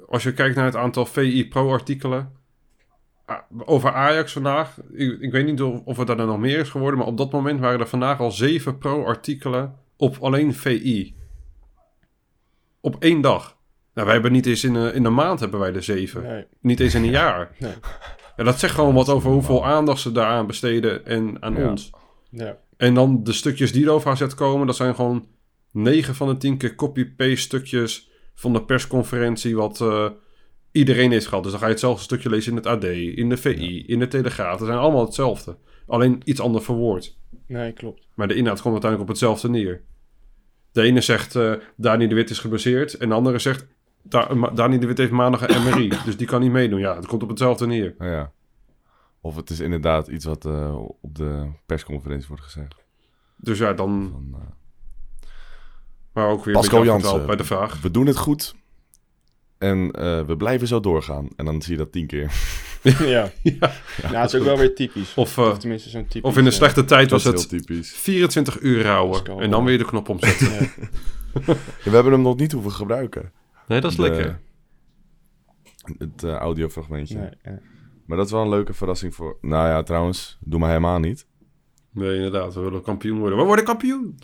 Als je kijkt naar het aantal VI Pro-artikelen a- over Ajax vandaag. Ik, ik weet niet of, of het daar dan nog meer is geworden, maar op dat moment waren er vandaag al zeven Pro-artikelen op alleen VI. Op één dag. Nou, wij hebben niet eens in een, in een maand hebben wij de zeven. Nee. Niet eens in een jaar. Nee. Ja, dat zegt gewoon wat over hoeveel aandacht ze daaraan besteden en aan Ja. ons. Ja. En dan de stukjes die er over AZ komen, dat zijn gewoon 9 van de 10 keer copy-paste stukjes van de persconferentie wat eh, iedereen heeft gehad. Dus dan ga je hetzelfde stukje lezen in het AD, in de VI, in de Telegraaf. Dat zijn allemaal hetzelfde. Alleen iets ander verwoord. Nee, klopt. Maar de inhoud komt uiteindelijk op hetzelfde neer. De ene zegt eh Dani de Wit is geblesseerd. En de andere zegt Da- Ma- Dani de Wit heeft maandag een MRI. dus die kan niet meedoen. Ja, het komt op hetzelfde neer. Nou ja. Of het is inderdaad iets wat eh, op de persconferentie wordt gezegd. Dus ja, dan... Van, eh, Maar ook weer Pascal een beetje Jansen. afgedwaald bij de vraag. we doen het goed. En eh, we blijven zo doorgaan. En dan zie je dat tien keer. ja. Nou, het is ook wel weer typisch. Of, eh, Of tenminste zo'n typisch... of in een eh, slechte tijd Dat was is heel het typisch. 24 uur rouwen. Pascal, En dan ja. weer de knop omzetten. Ja. Ja, we hebben hem nog niet hoeven gebruiken. Nee, dat is De- lekker. Het eh, audiofragmentje. Nee, eh, Maar dat is wel een leuke verrassing voor... Nou ja, trouwens. Doe maar helemaal niet. Nee, inderdaad. We willen kampioen worden. We worden kampioen!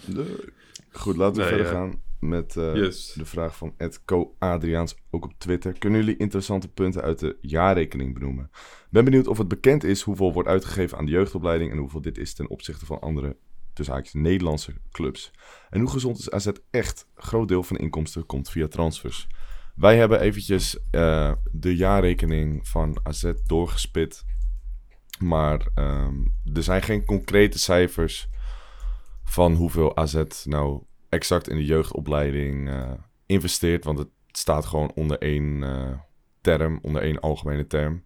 Goed, laten we Nee, verder ja. gaan met eh, Yes. de vraag van Edco Adriaans, ook op Twitter. Kunnen jullie interessante punten uit de jaarrekening benoemen? Ben benieuwd of het bekend is hoeveel wordt uitgegeven aan de jeugdopleiding... en hoeveel dit is ten opzichte van andere, tussen haakjes, Nederlandse clubs. En hoe gezond is AZ echt? Groot deel van de inkomsten komt via transfers. Wij hebben eventjes eh, de jaarrekening van AZ doorgespit. Maar ehm, er zijn geen concrete cijfers van hoeveel AZ nou exact in de jeugdopleiding eh, investeert. Want het staat gewoon onder één eh, term, onder één algemene term.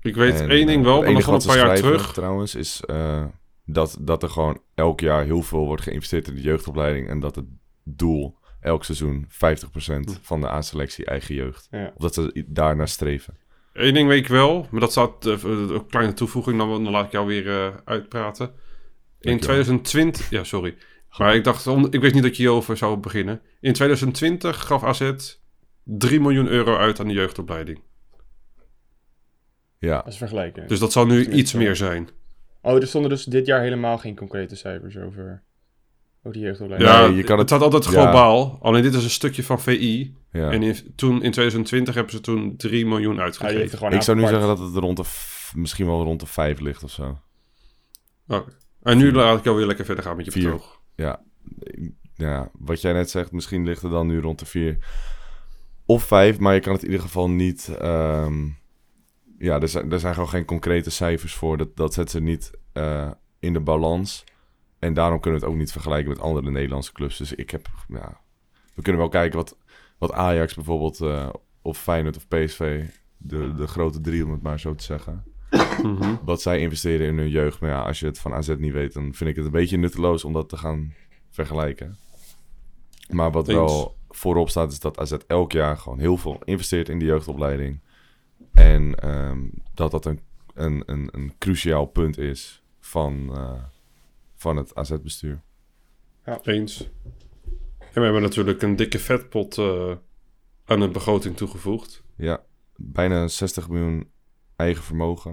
Ik weet En, één ding eh, wel, het maar nog enige wel wat een ze paar jaar schrijven, terug. Trouwens, is eh, dat, dat er gewoon elk jaar heel veel wordt geïnvesteerd in de jeugdopleiding. En dat het doel elk seizoen 50% Hm. van de A-selectie eigen jeugd. Ja. Of dat ze i- daarnaar streven. Eén ding weet ik wel, maar dat staat eh, eh, een kleine toevoeging, dan, dan laat ik jou weer eh, uitpraten. In Dankjewel. 2020, ja sorry, maar ik dacht, om- ik wist niet dat je hierover zou beginnen. In 2020 gaf AZ 3 miljoen euro uit aan de jeugdopleiding. Ja, Dat is vergelijken. Dus dat zal nu Tuurlijk, iets ja. meer zijn. Oh, er stonden dus dit jaar helemaal geen concrete cijfers over, over die jeugdopleiding. Ja, je kan het het- staat altijd ja. globaal, alleen dit is een stukje van VI. ja. En in, toen, in 2020 hebben ze toen 3 miljoen Ja, die heeft uitgegeven. er gewoon ik zou nu apart- zeggen dat het rond de, f- misschien wel rond de 5 ligt of zo. Oké. En nu laat ik jou weer lekker verder gaan met je Vier. betoog. Ja, ik- ja, wat jij net zegt, misschien ligt er dan nu rond de 4 of 5, maar je kan het in ieder geval niet. ehm, ja, er zijn, er zijn gewoon geen concrete cijfers voor. Dat, dat zet ze niet eh, in de balans. En daarom kunnen we het ook niet vergelijken met andere Nederlandse clubs. Dus ik heb. Ja, we kunnen wel kijken wat, wat Ajax bijvoorbeeld, eh, of Feyenoord of PSV, de, de grote drie om het maar zo te zeggen. Wat zij investeren in hun jeugd. Maar ja, als je het van AZ niet weet, dan vind ik het een beetje nutteloos om dat te gaan vergelijken. Maar wat Eens. wel voorop staat, is dat AZ elk jaar gewoon heel veel investeert in de jeugdopleiding. En ehm, dat dat een, een, een, een cruciaal punt is van, eh, van het AZ-bestuur. Eens. En we hebben natuurlijk een dikke vetpot eh, aan de begroting toegevoegd. Ja, bijna 60 miljoen eigen vermogen.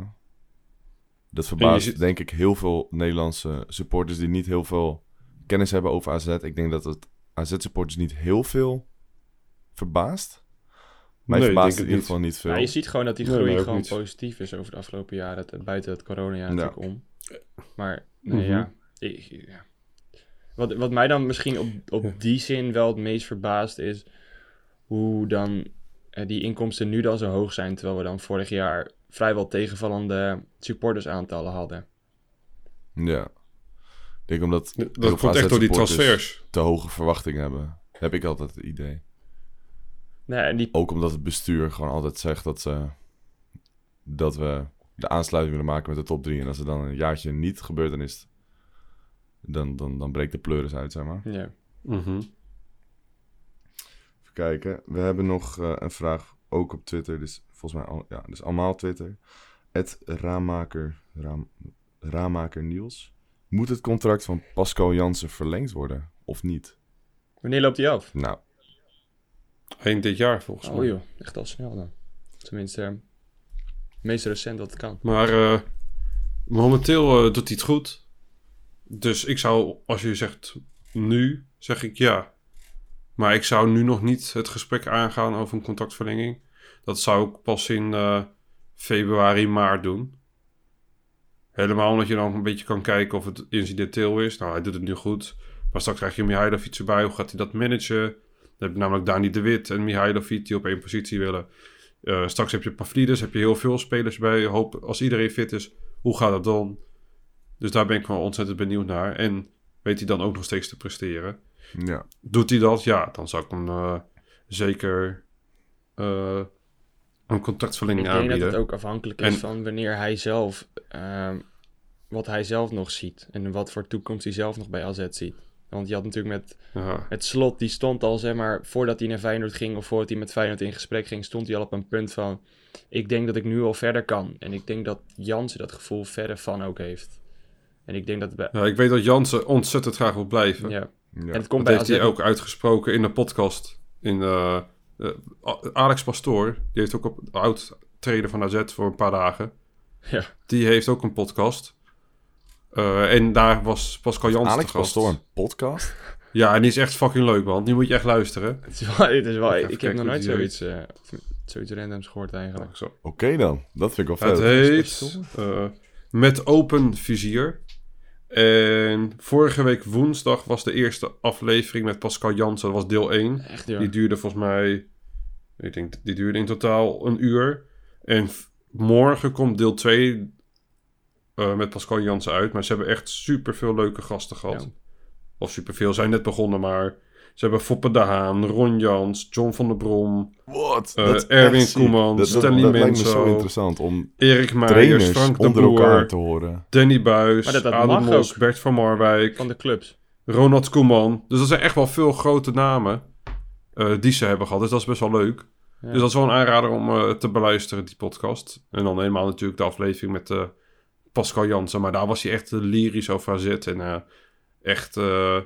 Dat En je verbaast zit- denk ik heel veel Nederlandse supporters die niet heel veel kennis hebben over AZ. Ik denk dat het AZ-supporters niet heel veel verbaast. Mij Nee, ik verbaast denk in het ieder geval niet veel. Ja, je ziet gewoon dat die Nee, groei maar ook gewoon niet. positief is over de afgelopen jaren. Dat, buiten het coronajaar Ja. natuurlijk om. Maar nee, Mhm. ja, ik- ja. Wat, wat mij dan misschien op, op die zin wel het meest verbaast is... hoe dan eh, die inkomsten nu dan zo hoog zijn... terwijl we dan vorig jaar vrijwel tegenvallende supportersaantallen hadden. Ja. Ik denk omdat heel dus. veel Dat komt echt door die AZ-supporters transfers. te hoge verwachtingen hebben. Heb ik altijd het idee. Nee, en die, Ook omdat het bestuur gewoon altijd zegt dat ze dat we de aansluiting willen maken met de top 3. En als er dan een jaartje niet gebeurt, dan is het- dan, dan, dan breekt de pleuris uit, zeg maar. ja. Mhm. Even kijken. We hebben nog eh, een vraag, ook op Twitter. Dus volgens mij, al, ja, dus allemaal Twitter. Het Raammaker, Raam, Raammaker Niels. Moet het contract van Pascal Jansen verlengd worden of niet? Wanneer loopt die af? Nou, Eind dit jaar volgens mij. Oh joh, echt al snel dan. Tenminste, eh, het meest recent dat het kan. Maar eh, momenteel eh, doet hij het goed. Dus ik zou, als je zegt nu, zeg ik ja. Maar ik zou nu nog niet het gesprek aangaan over een contractverlenging. Dat zou ik pas in eh, februari, maart doen. Helemaal omdat je dan een beetje kan kijken of het incidenteel is. Nou, hij doet het nu goed. Maar straks krijg je Mihailovic erbij. Hoe gaat hij dat managen? Dan heb je namelijk Dani de Wit en Mihailovic die op één positie willen. Eh, straks heb je Pavlidis, heb je heel veel spelers bij. Hoop, als iedereen fit is, hoe gaat dat dan? Dus daar ben ik wel ontzettend benieuwd naar. En weet hij dan ook nog steeds te presteren? ja. Doet hij dat? Ja, dan zou ik hem eh, zeker eh, een Ik contractverlenging denk dat het aanbieden. ook afhankelijk is En- van wanneer hij zelf, ehm, wat hij zelf nog ziet. En wat voor toekomst hij zelf nog bij AZ ziet. Want je had natuurlijk met, Ja. met Slot, die stond al, zeg maar, voordat hij naar Feyenoord ging of voordat hij met Feyenoord in gesprek ging, stond hij al op een punt van, ik denk dat ik nu al verder kan. En ik denk dat Jansen dat gevoel verder van ook heeft. En ik denk dat... het bij- Ja, ik weet dat Jansen ontzettend graag wil blijven. ja. En ja. het komt Dat bij heeft AZ hij ook uitgesproken in de podcast. In, eh, eh, A- Alex Pastoor, die heeft ook op oud trainer van AZ voor een paar dagen. Ja. Die heeft ook een podcast. Eh, en daar was Pascal Jansen Alex te gast. Pastoor, een podcast? Ja, en die is echt fucking leuk, man. Die moet je echt luisteren. Het is wel, het is wel, Even ik heb kijken nog hoe nooit die zoiets, eh, zoiets randoms gehoord eigenlijk. Oké dan, dat vind ik wel Het vet. heet eh, Met Open Vizier. En vorige week woensdag was de eerste aflevering met Pascal Jansen. Dat was deel 1. Echt joh. Oh. Die duurde volgens mij, ik denk, die duurde in totaal een uur. En v- morgen komt deel 2 eh, met Pascal Jansen uit. Maar ze hebben echt superveel leuke gasten gehad. Ja. Of superveel, zijn net begonnen, maar Ze hebben Foppe de Haan, Ron Jans, John van der Brom, Wat? Eh, Dat is echt Erwin ziek. dat, Koeman, dat, Stanley dat lijkt me Menzo, zo interessant om Erik Meijers, trainers Frank de onder elkaar Boer, te horen. Danny Buis, Maar dat- dat Adam mag Mos, ook. Bert van Marwijk, Van de clubs. Ronald Koeman. Dus dat zijn echt wel veel grote namen eh, die ze hebben gehad. Dus dat is best wel leuk. Ja. Dus dat is wel een aanrader om eh, te beluisteren, die podcast. En dan helemaal natuurlijk de aflevering met eh, Pascal Jansen. Maar daar was hij echt eh, lyrisch over AZ. En eh, echt... eh,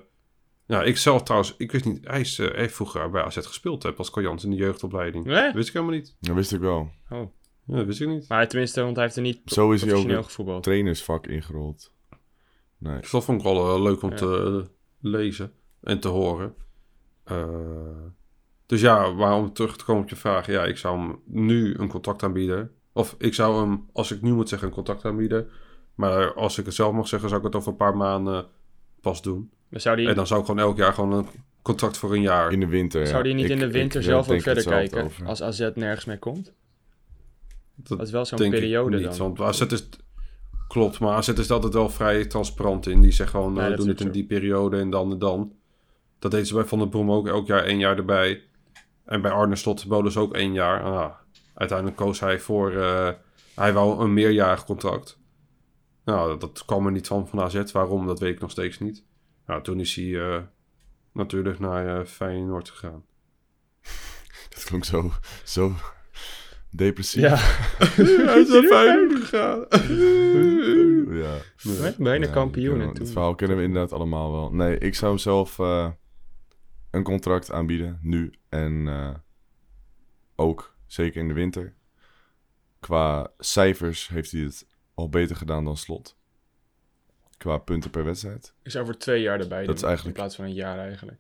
nou, ik zelf trouwens, ik wist niet... Hij, is, eh, hij heeft vroeger bij AZ gespeeld, hè, Pascal Jansen, in de jeugdopleiding. Hè? Dat wist ik helemaal niet. Dat wist ik wel. Ja, dat wist ik niet. Maar tenminste, want hij heeft er niet Zo is hij ook professioneel het gevoetbald. trainersvak ingerold. Dus dat vond ik wel eh, leuk om Ja. te eh, lezen en te horen. Eh, dus ja, maar om terug te komen op je vraag. Ja, ik zou hem nu een contact aanbieden. Of ik zou hem, als ik nu moet zeggen, een contact aanbieden. Maar als ik het zelf mag zeggen, zou ik het over een paar maanden pas doen. Maar zou die, En dan zou ik gewoon elk jaar gewoon een contract voor een jaar. In de winter. ja. zou die niet Ik- in de ik, winter eh, zelf ook denk verder hetzelfde kijken? over. Als AZ nergens mee komt? Dat Dat is wel zo'n denk ik periode niet, dan. Want AZ is... Klopt, maar AZ is er altijd wel vrij transparant in. Die zeggen gewoon, Ja, eh, we dat doen is het in ook die periode en dan en dan. Dat deden ze bij Van der Brom ook elk jaar één jaar erbij. En bij Arne Slot boden ze ook één jaar. Ah, uiteindelijk koos hij voor... eh, hij wou een meerjarig contract. Nou, dat, dat kwam er niet van van AZ. Waarom, dat weet ik nog steeds niet. Nou, toen is hij eh, natuurlijk naar eh, Feyenoord gegaan. Dat klonk zo, zo depressief. Ja. hij is naar Feyenoord gegaan. Ja. Nee, Bijna Ja, kampioen. kunnen en we- toen- Het verhaal kennen we inderdaad allemaal wel. Nee, ik zou hem zelf eh, een contract aanbieden, nu. En eh, ook, zeker in de winter. Qua cijfers heeft hij het al beter gedaan dan Slot. Qua punten per wedstrijd. Ik zou voor twee jaar erbij doen. is eigenlijk- In plaats van een jaar eigenlijk.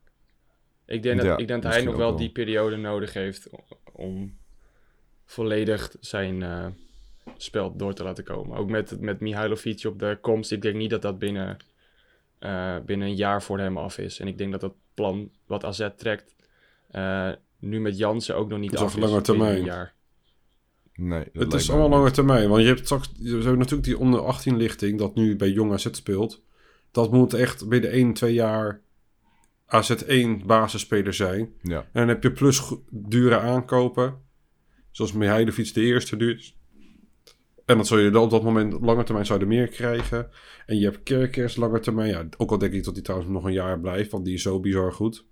Ik denk dat, Ja, ik denk dat hij misschien nog ook wel wel. die periode nodig heeft o- om volledig zijn eh, spel door te laten komen. Ook met, met Mihailovic op de komst. Ik denk niet dat dat binnen, eh, binnen een jaar voor hem af is. En ik denk dat dat plan wat AZ trekt eh, nu met Jansen ook nog niet Dat is af een is. lange binnen termijn. Een jaar. Nee, dat Het lijkt is me allemaal niet. lange termijn. Want je hebt straks je hebt natuurlijk die onder 18 lichting dat nu bij jong AZ speelt. Dat moet echt binnen 1, 2 jaar AZ1 basisspeler zijn. Ja, En dan heb je plus go- dure aankopen. Zoals Mihailovic de eerste duurt. En dat zul je dan op dat moment op lange termijn zouden meer krijgen. En je hebt Kerkers lange termijn. Ja, ook al denk ik dat die trouwens nog een jaar blijft. Want die is zo bizar goed.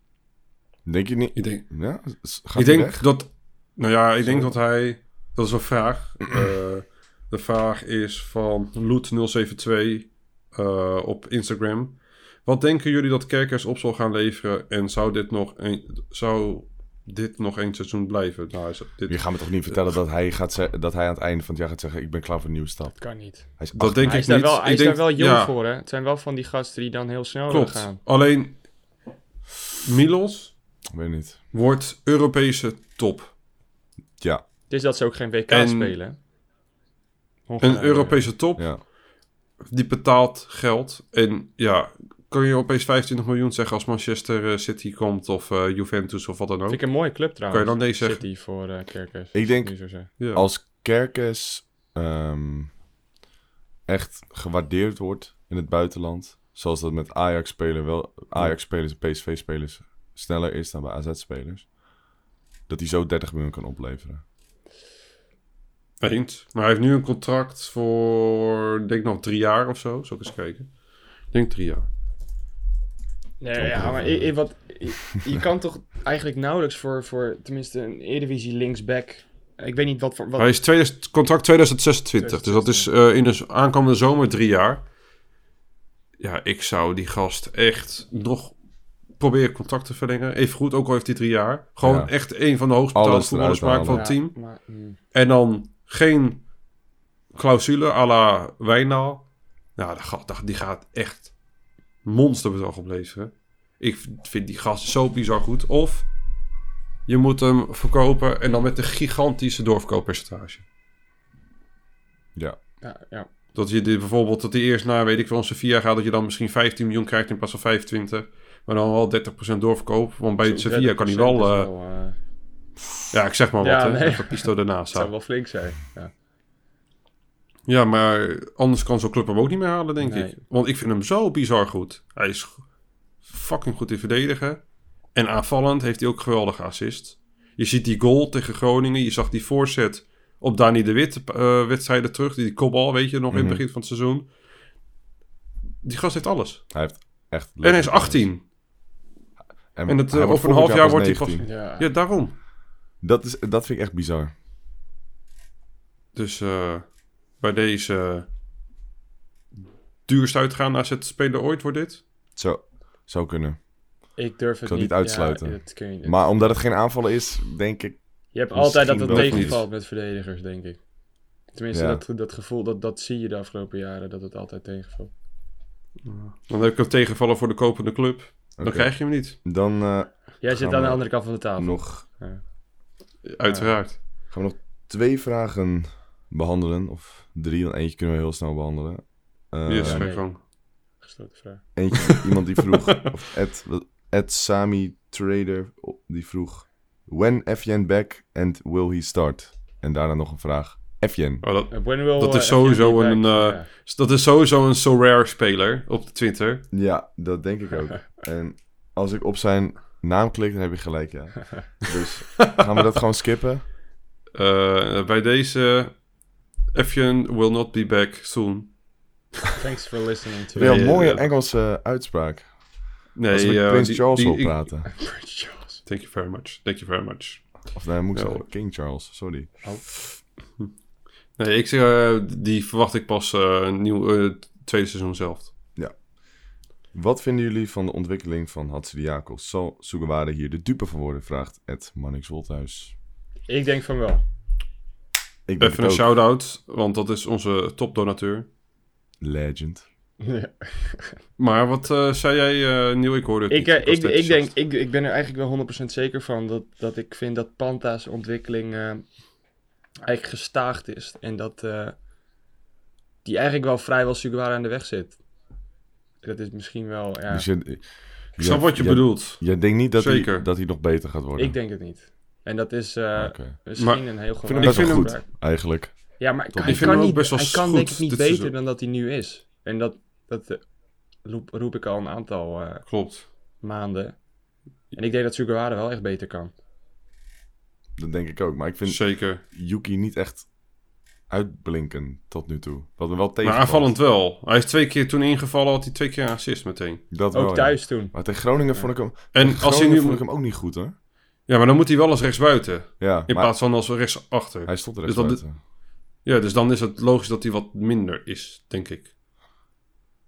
denk je niet? Ik denk, Ja, S- gaat ik hij denk weg? dat. Nou ja, ik denk dat hij. Dat is een vraag. Eh, de vraag is van Loot072 eh, op Instagram. Wat denken jullie dat Kerkers op zal gaan leveren? En zou dit nog een, zou dit nog één seizoen blijven? Nou, is dit, Je gaat me toch niet vertellen dat hij, gaat ze- dat hij aan het einde van het jaar gaat zeggen... ik ben klaar voor een nieuwe stap. Kan niet. Hij is dat denk Hij ik is, daar niet. wel, hij ik is daar denk, wel jong ja, voor, hè? Het zijn wel van die gasten die dan heel snel Klopt. gaan. Alleen Milos Ik weet niet. wordt Europese top. Ja, Het is dat ze ook geen WK En- spelen. Een Hongarije. Europese top. ja. die betaalt geld. En ja, kan je opeens 25 miljoen zeggen als Manchester eh, City komt of eh, Juventus of wat dan ook. Vind ik een mooie club trouwens. Kan je dan nee zeggen? City voor eh, Kerkers. Ik denk- Nu zo zeggen. Ja. als Kerkes ehm, echt gewaardeerd wordt in het buitenland, zoals dat met Ajax-spelers wel, Ajax-spelers en PSV-spelers sneller is dan bij AZ-spelers, dat hij zo 30 miljoen kan opleveren. Eens. Maar hij heeft nu een contract voor, ik denk nog drie jaar of zo. Zal ik eens kijken? Ik denk drie jaar. Nee, ja, maar i- i- wat, i- je kan toch eigenlijk nauwelijks voor, voor tenminste een Eredivisie linksback. eh, Ik weet niet wat voor. Wat, Hij is 2000, contract 2026, dus dat is eh, in de z- aankomende zomer drie jaar. Ja, ik zou die gast echt nog proberen contract te verlengen. Even goed, ook al heeft hij drie jaar. Gewoon Ja. echt een van de hoogst betaalde Alles voetballers eruit maken van het Ja, team. Maar, mm, En dan geen clausule à la Wijnaal. Nou, die gaat, die gaat echt monsterbedrag opleveren. Ik v- vind die gast zo bizar goed. Of je moet hem verkopen en dan met een gigantische doorverkooppercentage. Ja, ja, ja. Dat je dit bijvoorbeeld, dat die eerst naar, weet ik wel, onze Sevilla gaat, dat je dan misschien 15 miljoen krijgt in plaats van 25. Maar dan wel 30% doorverkoop. Want bij Zo'n Sevilla kan hij wel, 30% is eh, wel, eh, ja, ik zeg maar wat, Ja, hè. nee. Even pisto ernaast zou houden. wel flink zijn. Ja. Ja, maar anders kan zo'n club hem ook niet meer halen, denk Nee. ik. Want ik vind hem zo bizar goed. Hij is g- fucking goed in verdedigen. En aanvallend heeft hij ook geweldige assist. Je ziet die goal tegen Groningen. Je zag die voorzet op Dani de Wit eh, wedstrijden terug. Die kopbal, weet je, nog in het begin van het seizoen. Die gast heeft alles. Hij heeft echt... En hij is 18. En het, eh, over een half jaar wordt hij pas... Ja. Ja, daarom. Dat, is, dat vind ik echt bizar. Dus eh, bij deze... eh, duurst uitgaan naar het spelen ooit wordt dit. Zo, zou kunnen. Ik durf het zal niet niet uitsluiten. Ja, dat kun je, Maar omdat het geen aanvallen is, denk ik... je hebt altijd dat het misschien wel tegenvalt met verdedigers, denk ik. Tenminste, Ja. dat, dat gevoel, dat, dat zie je de afgelopen jaren, dat het altijd tegenvalt. Dan heb ik hem tegenvallen voor de kopende club. Dan Oké. krijg je hem niet. Dan eh, Jij zit Gaan aan de we andere kant van de tafel. nog, Uiteraard. gaan we nog twee vragen behandelen. Of drie, want eentje kunnen we heel snel behandelen. Eh, Yes, ga je nee. gang. Gesloten vraag. Eentje, iemand die vroeg, of Ed, Ed Sami Trader, die vroeg... When Evjen back and will he start? En daarna nog een vraag. Evjen. Oh, dat, Eh, When will, Dat is eh, Evgen be sowieso back? een, eh, Ja. dat is sowieso een so rare speler op de Twitter. Ja, dat denk ik ook. En als ik op zijn naam klik, dan heb je gelijk, ja. Dus gaan we dat gewoon skippen? Eh, bij deze... Efjen will not be back soon. Thanks for listening to Wel ja, een mooie ja. Engelse uitspraak. eh, Nee, Als ik eh, met Prins die- Charles die- wil ik- praten. Prince Charles. Thank you very much. Thank you very much. Of nee, moet ik Ja, zeggen, hoor. King Charles, sorry. Nee, ik zeg, eh, die verwacht ik pas eh, een nieuw eh, tweede seizoen zelf. Wat vinden jullie van de ontwikkeling van Hatsiriako? Zal Sugawara hier de dupe van worden? Vraagt Ed Mannix Wolthuis. Ik denk van wel. Ik ben Even een het ook. shout-out, want dat is onze topdonateur. Legend. Ja. Maar wat eh, zei jij, eh Nieuw? Ik hoorde het Ik, niet. eh, was ik, net ik, denk, ik, enthousiast. ik ben er eigenlijk wel 100% zeker van dat, dat ik vind dat Panta's ontwikkeling eh, eigenlijk gestaagd is. En dat eh, die eigenlijk wel vrijwel Sugawara aan de weg zit. Dat is misschien wel. Ja, Dus je, Ik snap wat je bedoelt. Jij denkt niet dat hij, Zeker. dat hij nog beter gaat worden? ik denk het niet. En dat is eh, Oké. misschien Maar een heel Ik vind hem gewoon. best wel vind goed, eigenlijk. Ja, maar hij vind kan, hem ook niet, best wel hij kan goed denk ik niet dit beter seizoen. dan dat hij nu is. En dat, dat eh, roep, roep ik al een aantal eh, Klopt. maanden. En ik denk dat Sugawara wel echt beter kan. Dat denk ik ook. Maar ik vind Zeker. Yuki niet echt uitblinken tot nu toe. Wat me wel tegen. Maar aanvallend wel. Hij is twee keer toen ingevallen, had hij twee keer een assist meteen. Dat wel, Ook ja. thuis toen. Maar tegen Groningen vond ik hem. En als hij nu... vond ik hem ook niet goed hoor. Ja, maar dan moet hij wel als rechtsbuiten. Ja, In maar plaats van als rechtsachter. hij stond er Dus echt dat- buiten. Ja, dus dan is het logisch dat hij wat minder is, denk ik.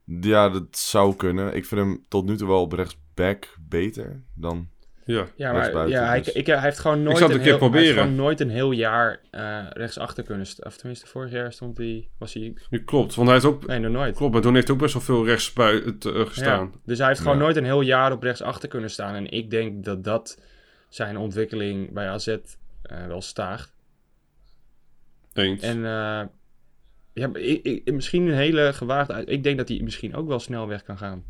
Ja, dat zou kunnen. Ik vind hem tot nu toe wel op rechtsback beter dan. Ja. Ja, maar Rechtsbuiten, ja, hij, dus. ik, eh, hij heeft gewoon nooit zou een het een heel, keer hij heeft proberen. gewoon nooit een heel jaar eh, rechtsachter kunnen staan. Of tenminste, vorig jaar stond hij, was hij... Ja, klopt. Want hij heeft ook... Nee, nog nooit. Klopt, maar toen heeft hij ook best wel veel rechtsbuiten eh, gestaan. Ja, dus hij heeft gewoon Ja. nooit een heel jaar op rechtsachter kunnen staan. En ik denk dat dat zijn ontwikkeling bij AZ eh, wel staagt. Eens. En eh, ja, maar ik, ik- misschien een hele gewaagde... uit- Ik denk dat hij misschien ook wel snel weg kan gaan.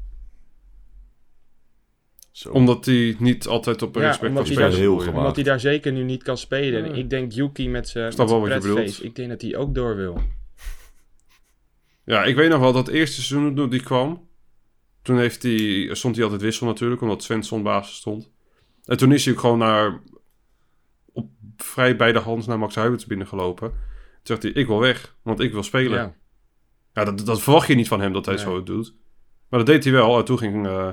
Zo. Omdat hij niet altijd op een Ja, respect omdat kan hij spelen. daar heel bedoel je? gewaagd. Omdat hij daar zeker nu niet kan spelen. En Ik denk Yuki met zijn Ik snap wel wat je pretface, bedoelt. ik denk dat hij ook door wil. Ja, ik weet nog wel dat eerste seizoen toen die kwam. Toen heeft hij, stond hij altijd wissel natuurlijk, omdat Svensson basis stond. En toen is hij ook gewoon naar, op vrij beide hand naar Max Huibert binnengelopen. Toen zegt hij, ik wil weg, want ik wil spelen. Ja, Ja. dat, dat verwacht je niet van hem dat hij Nee. zo doet. Maar dat deed hij wel. En toen ging, eh,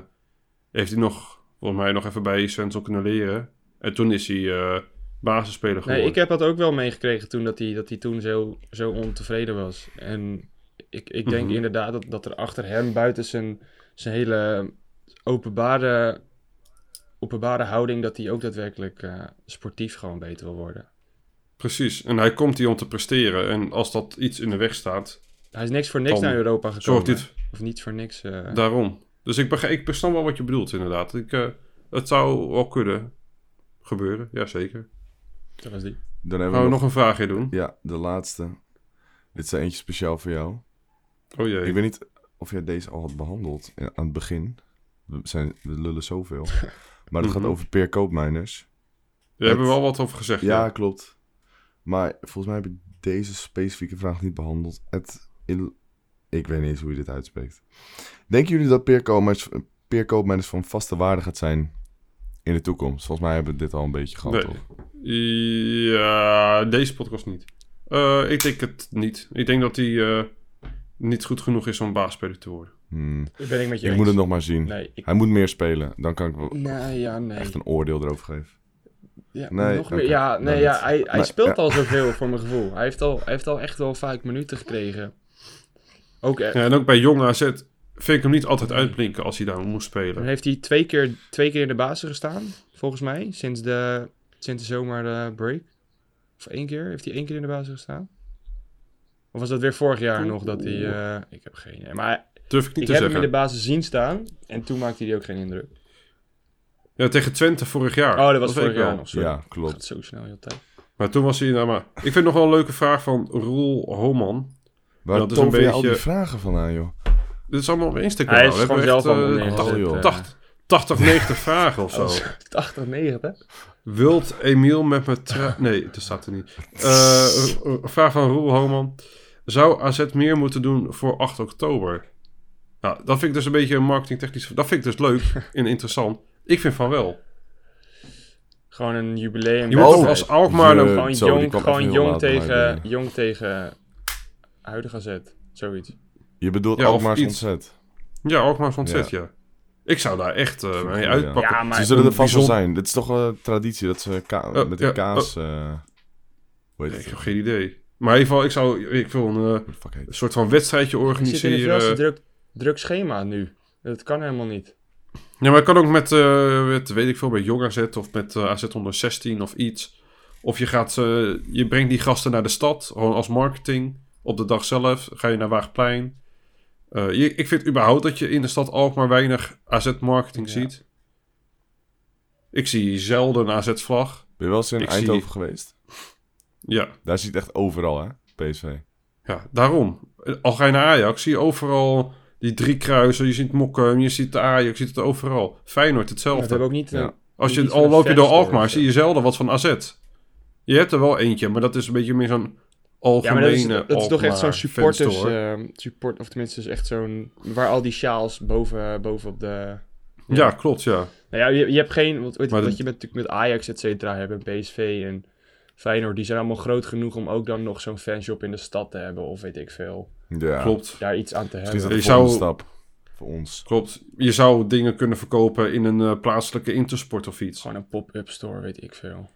heeft hij nog, volgens mij nog even bij Svensson kunnen leren. En toen is hij eh, basisspeler geworden. Nee, ik heb dat ook wel meegekregen toen dat hij, dat hij toen zo, zo ontevreden was. En ik, ik denk Mhm. inderdaad dat, dat er achter hem, buiten zijn, zijn hele openbare, openbare houding, dat hij ook daadwerkelijk eh, sportief gewoon beter wil worden. Precies. En hij komt hier om te presteren. En als dat iets in de weg staat, Hij is niks voor niks Dan naar Europa gekomen. zorgt dit Of niet voor niks. eh. Daarom. Dus ik, beg ik besnap wel wat je bedoelt, inderdaad. Ik, eh, het zou wel kunnen gebeuren, jazeker. dat was die. Dan hebben we Gaan we nog... Oh, nog een vraagje doen? Ja, de laatste. Dit is er eentje speciaal voor jou. Oh jee. Ik weet niet of jij deze al had behandeld eh, aan het begin. We, zijn, we lullen zoveel. Maar het gaat Mhm. over Peer Koopmijners. Daar hebben we wel wat over gezegd. Ja, Ja, klopt. Maar volgens mij heb ik deze specifieke vraag niet behandeld. Het il- ik weet niet eens hoe je dit uitspreekt. Denken jullie dat Peer Koopmijners, Peer Koopmeiners van vaste waarde gaat zijn? in de toekomst? Volgens mij hebben we dit al een beetje gehad, Nee. toch? Ja, deze podcast niet. Eh, ik denk het niet. Ik denk dat hij eh, niet goed genoeg is om baasspeler te worden. Hmm, Dat ben ik met je Ik eens. moet het nog maar zien. Nee, ik... Hij moet meer spelen. Dan kan ik wel Nee, ja, nee. echt een oordeel erover geven. Ja, Nee, nog meer. oké. Ja, nee, Dan ja, niet. hij, hij Nee, speelt ja. al zoveel voor mijn gevoel. Hij heeft al, hij heeft al echt wel vaak minuten gekregen. Ook eh, Ja, en ook bij jong AZ vind ik hem niet altijd uitblinken als hij daar moest dan spelen. heeft hij twee keer, twee keer in de basis gestaan, volgens mij, sinds de, sinds de zomerbreak. Of één keer, heeft hij één keer in de basis gestaan? Of was dat weer vorig jaar nog dat hij... eh, ik heb geen idee, maar hij- Durf ik niet ik te heb hem zeggen. in de basis zien staan en toen maakte hij ook geen indruk. Ja, tegen Twente vorig jaar. Oh, dat was weet vorig ik jaar wel. nog, sorry. Ja, klopt. Gaat zo snel, heel tijd. Maar toen was hij... Nou, maar... Ik vind nog wel een leuke vraag van Roel Homan. Waar Dat is tover een je al die beetje- vragen van aan, joh? Dit is allemaal op Instagram. Hij is We gewoon hebben echt, zelf allemaal eh, neergezet, oh, joh. eh. 80, 80, 90 vragen of zo. 80, 90. Wilt Emiel met mijn tra- Nee, dat staat er niet. Eh, r- r- vraag van Roel Homan. Zou AZ meer moeten doen voor 8 oktober? Nou, dat vind ik dus een beetje een marketingtechnisch... Dat vind ik dus leuk en interessant. Ik vind van wel. Gewoon een jubileum. Je moet toch Oh, als Alkmaar... je- dan- Gewoon Zo, die jong, kwam echt gewoon heel jong, laat bij tegen, mij jong tegen huidige zet. Zoiets. Je bedoelt Ja, ja, of Alkmaar's iets. ontzet. Ja, Alkmaar van Zet, ja. Ik zou daar echt eh, mee ja. uitpakken. Ja, maar- Ze zullen er vast wel bijzon- zijn. Dit is toch wel een traditie dat ze ka- Oh, met de ja, kaas... eh, hoe heet Ik het? heb geen idee. Maar in ieder geval, ik zou ik wil een eh, What the fuck heet het? soort van wedstrijdje Ik zit in een organiseren. veel te druk, druk schema nu. Dat kan helemaal niet. Ja, maar het kan ook met, eh, met weet ik veel, bij Jong AZ of met eh, AZ onder 16 of iets. Of je, gaat, eh, je brengt die gasten naar de stad, gewoon als marketing. Op de dag zelf ga je naar Waagplein. Eh, je- ik vind überhaupt dat je in de stad Alkmaar weinig AZ-marketing Ja. ziet. Ik zie zelden een AZ-vlag. Ben je wel eens in Ik zie- Eindhoven geweest? Ja, Daar ziet echt overal, hè? PSV. Ja, daarom. Al ga je naar Ajax, zie je overal die drie kruisen. Je ziet Mokken, je ziet de Ajax, je ziet het overal. Feyenoord We hetzelfde. hebben ook niet... Ja. een- Als je, niet al zo'n loop je door vechter of Alkmaar, zo. zie je zelden wat van AZ. Je hebt er wel eentje, maar dat is een beetje meer zo'n Ja, algemene maar dat is, dat is toch echt zo'n Alkmaar-fanstore. supporters... eh, support, of tenminste, is echt zo'n... Waar al die sjaals boven, boven op de... eh, Ja, klopt, ja. Nou ja, je, je hebt geen... Wat, weet, Maar wat dat- je met, natuurlijk met Ajax, et cetera, hebben. PSV en Feyenoord. Die zijn allemaal groot genoeg om ook dan nog zo'n fanshop in de stad te hebben. Of weet ik veel. Ja. Klopt, Daar iets aan te Misschien is hebben. dat Je de volgende zou- stap voor ons. klopt. Je zou dingen kunnen verkopen in een eh, plaatselijke intersport of iets. Gewoon een pop-up store, weet ik veel.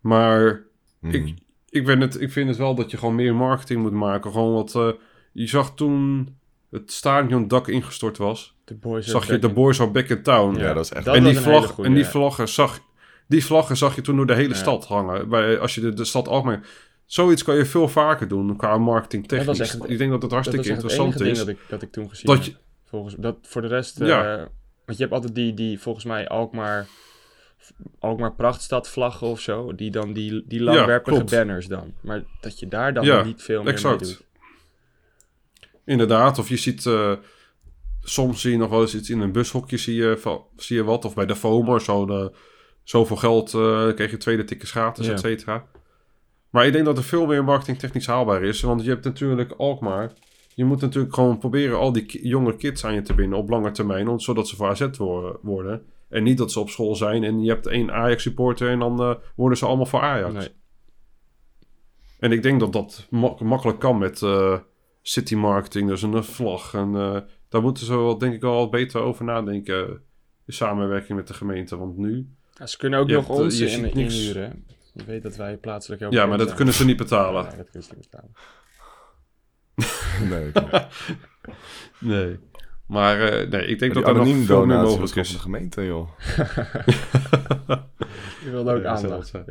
Maar Mhm. Ik, ik, ben het, ik vind het wel dat je gewoon meer marketing moet maken. Gewoon wat... eh, je zag toen het stadion dak ingestort was. De boys zag are je back de in- boys are back in town. Ja, dat is echt... dat- en, was die een hele vlag, goeie, en die, ja. vlaggen zag, die vlaggen zag je toen door de hele Ja. stad hangen. Bij, als je de, de stad Alkmaar... Zoiets kan je veel vaker doen qua marketing Dat technisch. was echt- ik denk dat Dat was het echt hartstikke het interessant enige is. ding dat ik, dat ik toen gezien Dat je- heb. Volgens, dat voor de rest... Ja. eh, want je hebt altijd die, die volgens mij Alkmaar... Alkmaar prachtstad vlaggen of zo. Die dan die, die langwerpige klopt. banners dan. Maar dat je daar dan Ja, niet veel meer exact. mee doet. Inderdaad, of je ziet... eh, soms zie je nog wel eens iets in een bushokje, zie je, van- zie je wat. Of bij de FOMER, zo de, zoveel geld eh, kreeg je tweede tickets gratis, Ja. et cetera. Maar ik denk dat er veel meer marketingtechnisch haalbaar is. Want je hebt natuurlijk Alkmaar. Je moet natuurlijk gewoon proberen al die ki- jonge kids aan je te binden op lange termijn. om- Zodat ze voor AZ wo- worden. En niet dat ze op school zijn en je hebt één Ajax supporter en dan eh, worden ze allemaal voor Ajax. Nee. En ik denk dat dat mak- makkelijk kan met eh, city marketing, dus een eh, vlag. En eh, daar moeten ze wel denk ik wel wat beter over nadenken. eh, In samenwerking met de gemeente. Want nu. Ja, ze kunnen ook Je nog hebt, eh, ons je ziet in, niks. inhuren. hè. Je weet dat wij plaatselijk heel Ja, bekend maar dat zijn. kunnen ze niet betalen. Ja, dat kunnen ze niet betalen. Nee, klopt. Nee. Maar eh, nee, ik denk die dat er nog anonieme veel meer donatie was gewoon mogelijk van is. de gemeente, joh. Je wilde ook Ja, dat zou aandacht. het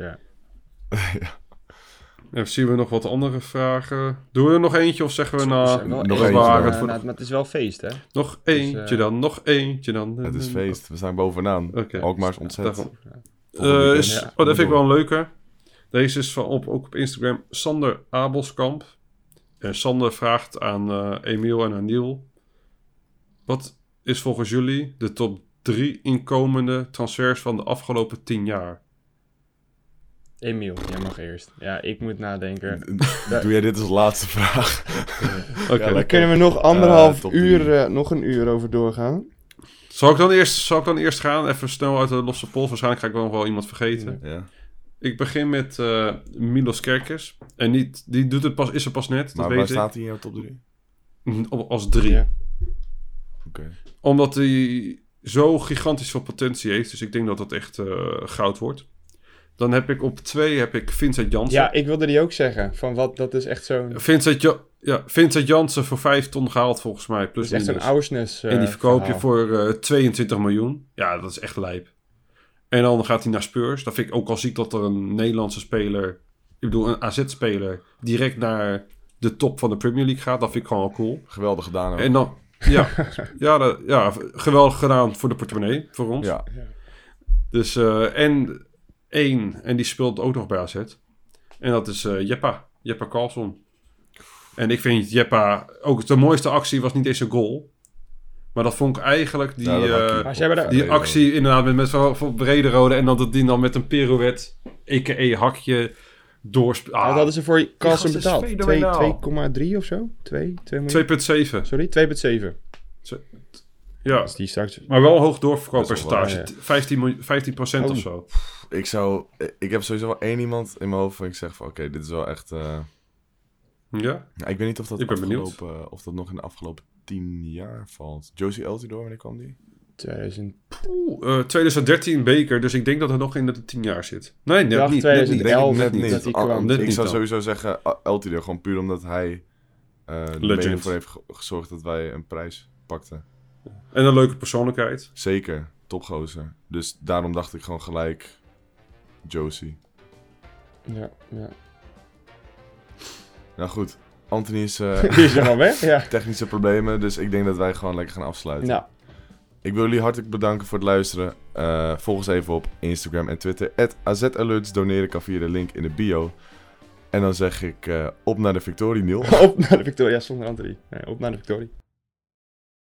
Ja. En zien we nog wat andere vragen? Doen we er nog eentje of zeggen we Dus, nou... eh, wel nog één, eentje eh, dan. het voor de- nou, maar het is wel feest, hè? Nog eentje Dus, eh, dan, nog eentje dan. Het is feest. We zijn bovenaan. Oh. Oké. Alkmaar is ontzet. Daarom. Volgende Eh, weekend. is- Ja. oh, dat vind ik wel een leuke. Deze is van op, ook op Instagram. Sander Abelskamp. En Sander vraagt aan eh, Emiel en aan Niel. Wat is volgens jullie de top drie inkomende transfers van de afgelopen tien jaar? Emiel, jij mag eerst. Ja, ik moet nadenken. Doe jij dit als laatste vraag? Oké, lekker. Kunnen we nog Eh, anderhalf Eh, top uur, drie. nog een uur over doorgaan? Zal ik, dan eerst, zal ik dan eerst gaan? Even snel uit de losse pols. Waarschijnlijk ga ik wel nog wel iemand vergeten. Ja. Ik begin met eh, Milos Kerkers. En niet, die doet het pas, is er pas net. Dat Maar weet waar ik. staat hij in jouw top 3? Op- Als drie. Ja. Oké. Omdat hij zo gigantisch veel potentie heeft. Dus ik denk dat dat echt eh, goud wordt. Dan heb ik op twee heb ik Vincent Jansen. Ja, ik wilde die ook zeggen. Van wat, dat is echt zo'n... Dat Vincent, ja, ja, Vincent Jansen voor 5 ton gehaald volgens mij. Plus is echt zo'n minus. oudsnes En die verkoop je voor eh, 22 miljoen. Ja, dat is echt lijp. En dan gaat hij naar Spurs. Dat vind ik ook al ziek dat er een Nederlandse speler, ik bedoel een AZ-speler, direct naar de top van de Premier League gaat. Dat vind ik gewoon wel cool. Geweldig gedaan. ook. En dan, ja, ja, dat- ja, geweldig gedaan voor de portemonnee, voor ons. Ja. Dus, eh, en één, en die speelt ook nog bij AZ. En dat is eh, Jeppa, Jeppa Carlson. En ik vind Jeppa, ook de mooiste actie was niet eens een goal. Maar dat vond ik eigenlijk die, Nou, dat had ik eh, niet. Maar ze hebben daar- die actie inderdaad met, met zo'n van Brederode. En dan dat die dan met een pirouette, a.k.a. hakje, Ah, doorspeelt. dat hadden ze voor Carlsen gast is betaald. fenomenaal. Twee- 2,3 of zo? 2, 2 miljoen? 2,7. Sorry, 2,7. Ja, Als die straks... maar wel een hoog Dat doorverkooppercentage. is 15, miljoen- 15 procent Oh. of zo. Ik zou... eh, Ik heb sowieso wel één iemand in mijn hoofd van ik zeg van... Oké, dit is wel echt... eh, Ja, Ja, ik weet niet of dat, Ik ben benieuwd. afgelopen- eh, of dat nog in de afgelopen tien jaar valt. Josie Eltidoor, wanneer kwam die? 2000... Eh, 2013 beker, dus ik denk dat het nog in de 10 jaar zit. Nee, net Ja, niet. net niet. 2011 net niet. dat hij Ah, kwam. Net ik niet zou dan. sowieso zeggen ah, Eltidoor, gewoon puur omdat hij eh er Legend. mede voor heeft ge- gezorgd dat wij een prijs pakten. En een leuke persoonlijkheid. Zeker, topgozer. Dus daarom dacht ik gewoon gelijk Josie. Ja, ja. Nou goed, Anthony is eh, Die is er al weg, ja. technische problemen, dus ik denk dat wij gewoon lekker gaan afsluiten. Nou, Ik wil jullie hartelijk bedanken voor het luisteren. Eh volg ons even op Instagram en Twitter. @azalerts doneren kan via de link in de bio. En dan zeg ik eh, op naar de victorie, Niel. op naar de Victoria zonder Anthony. Nee, op naar de Victoria.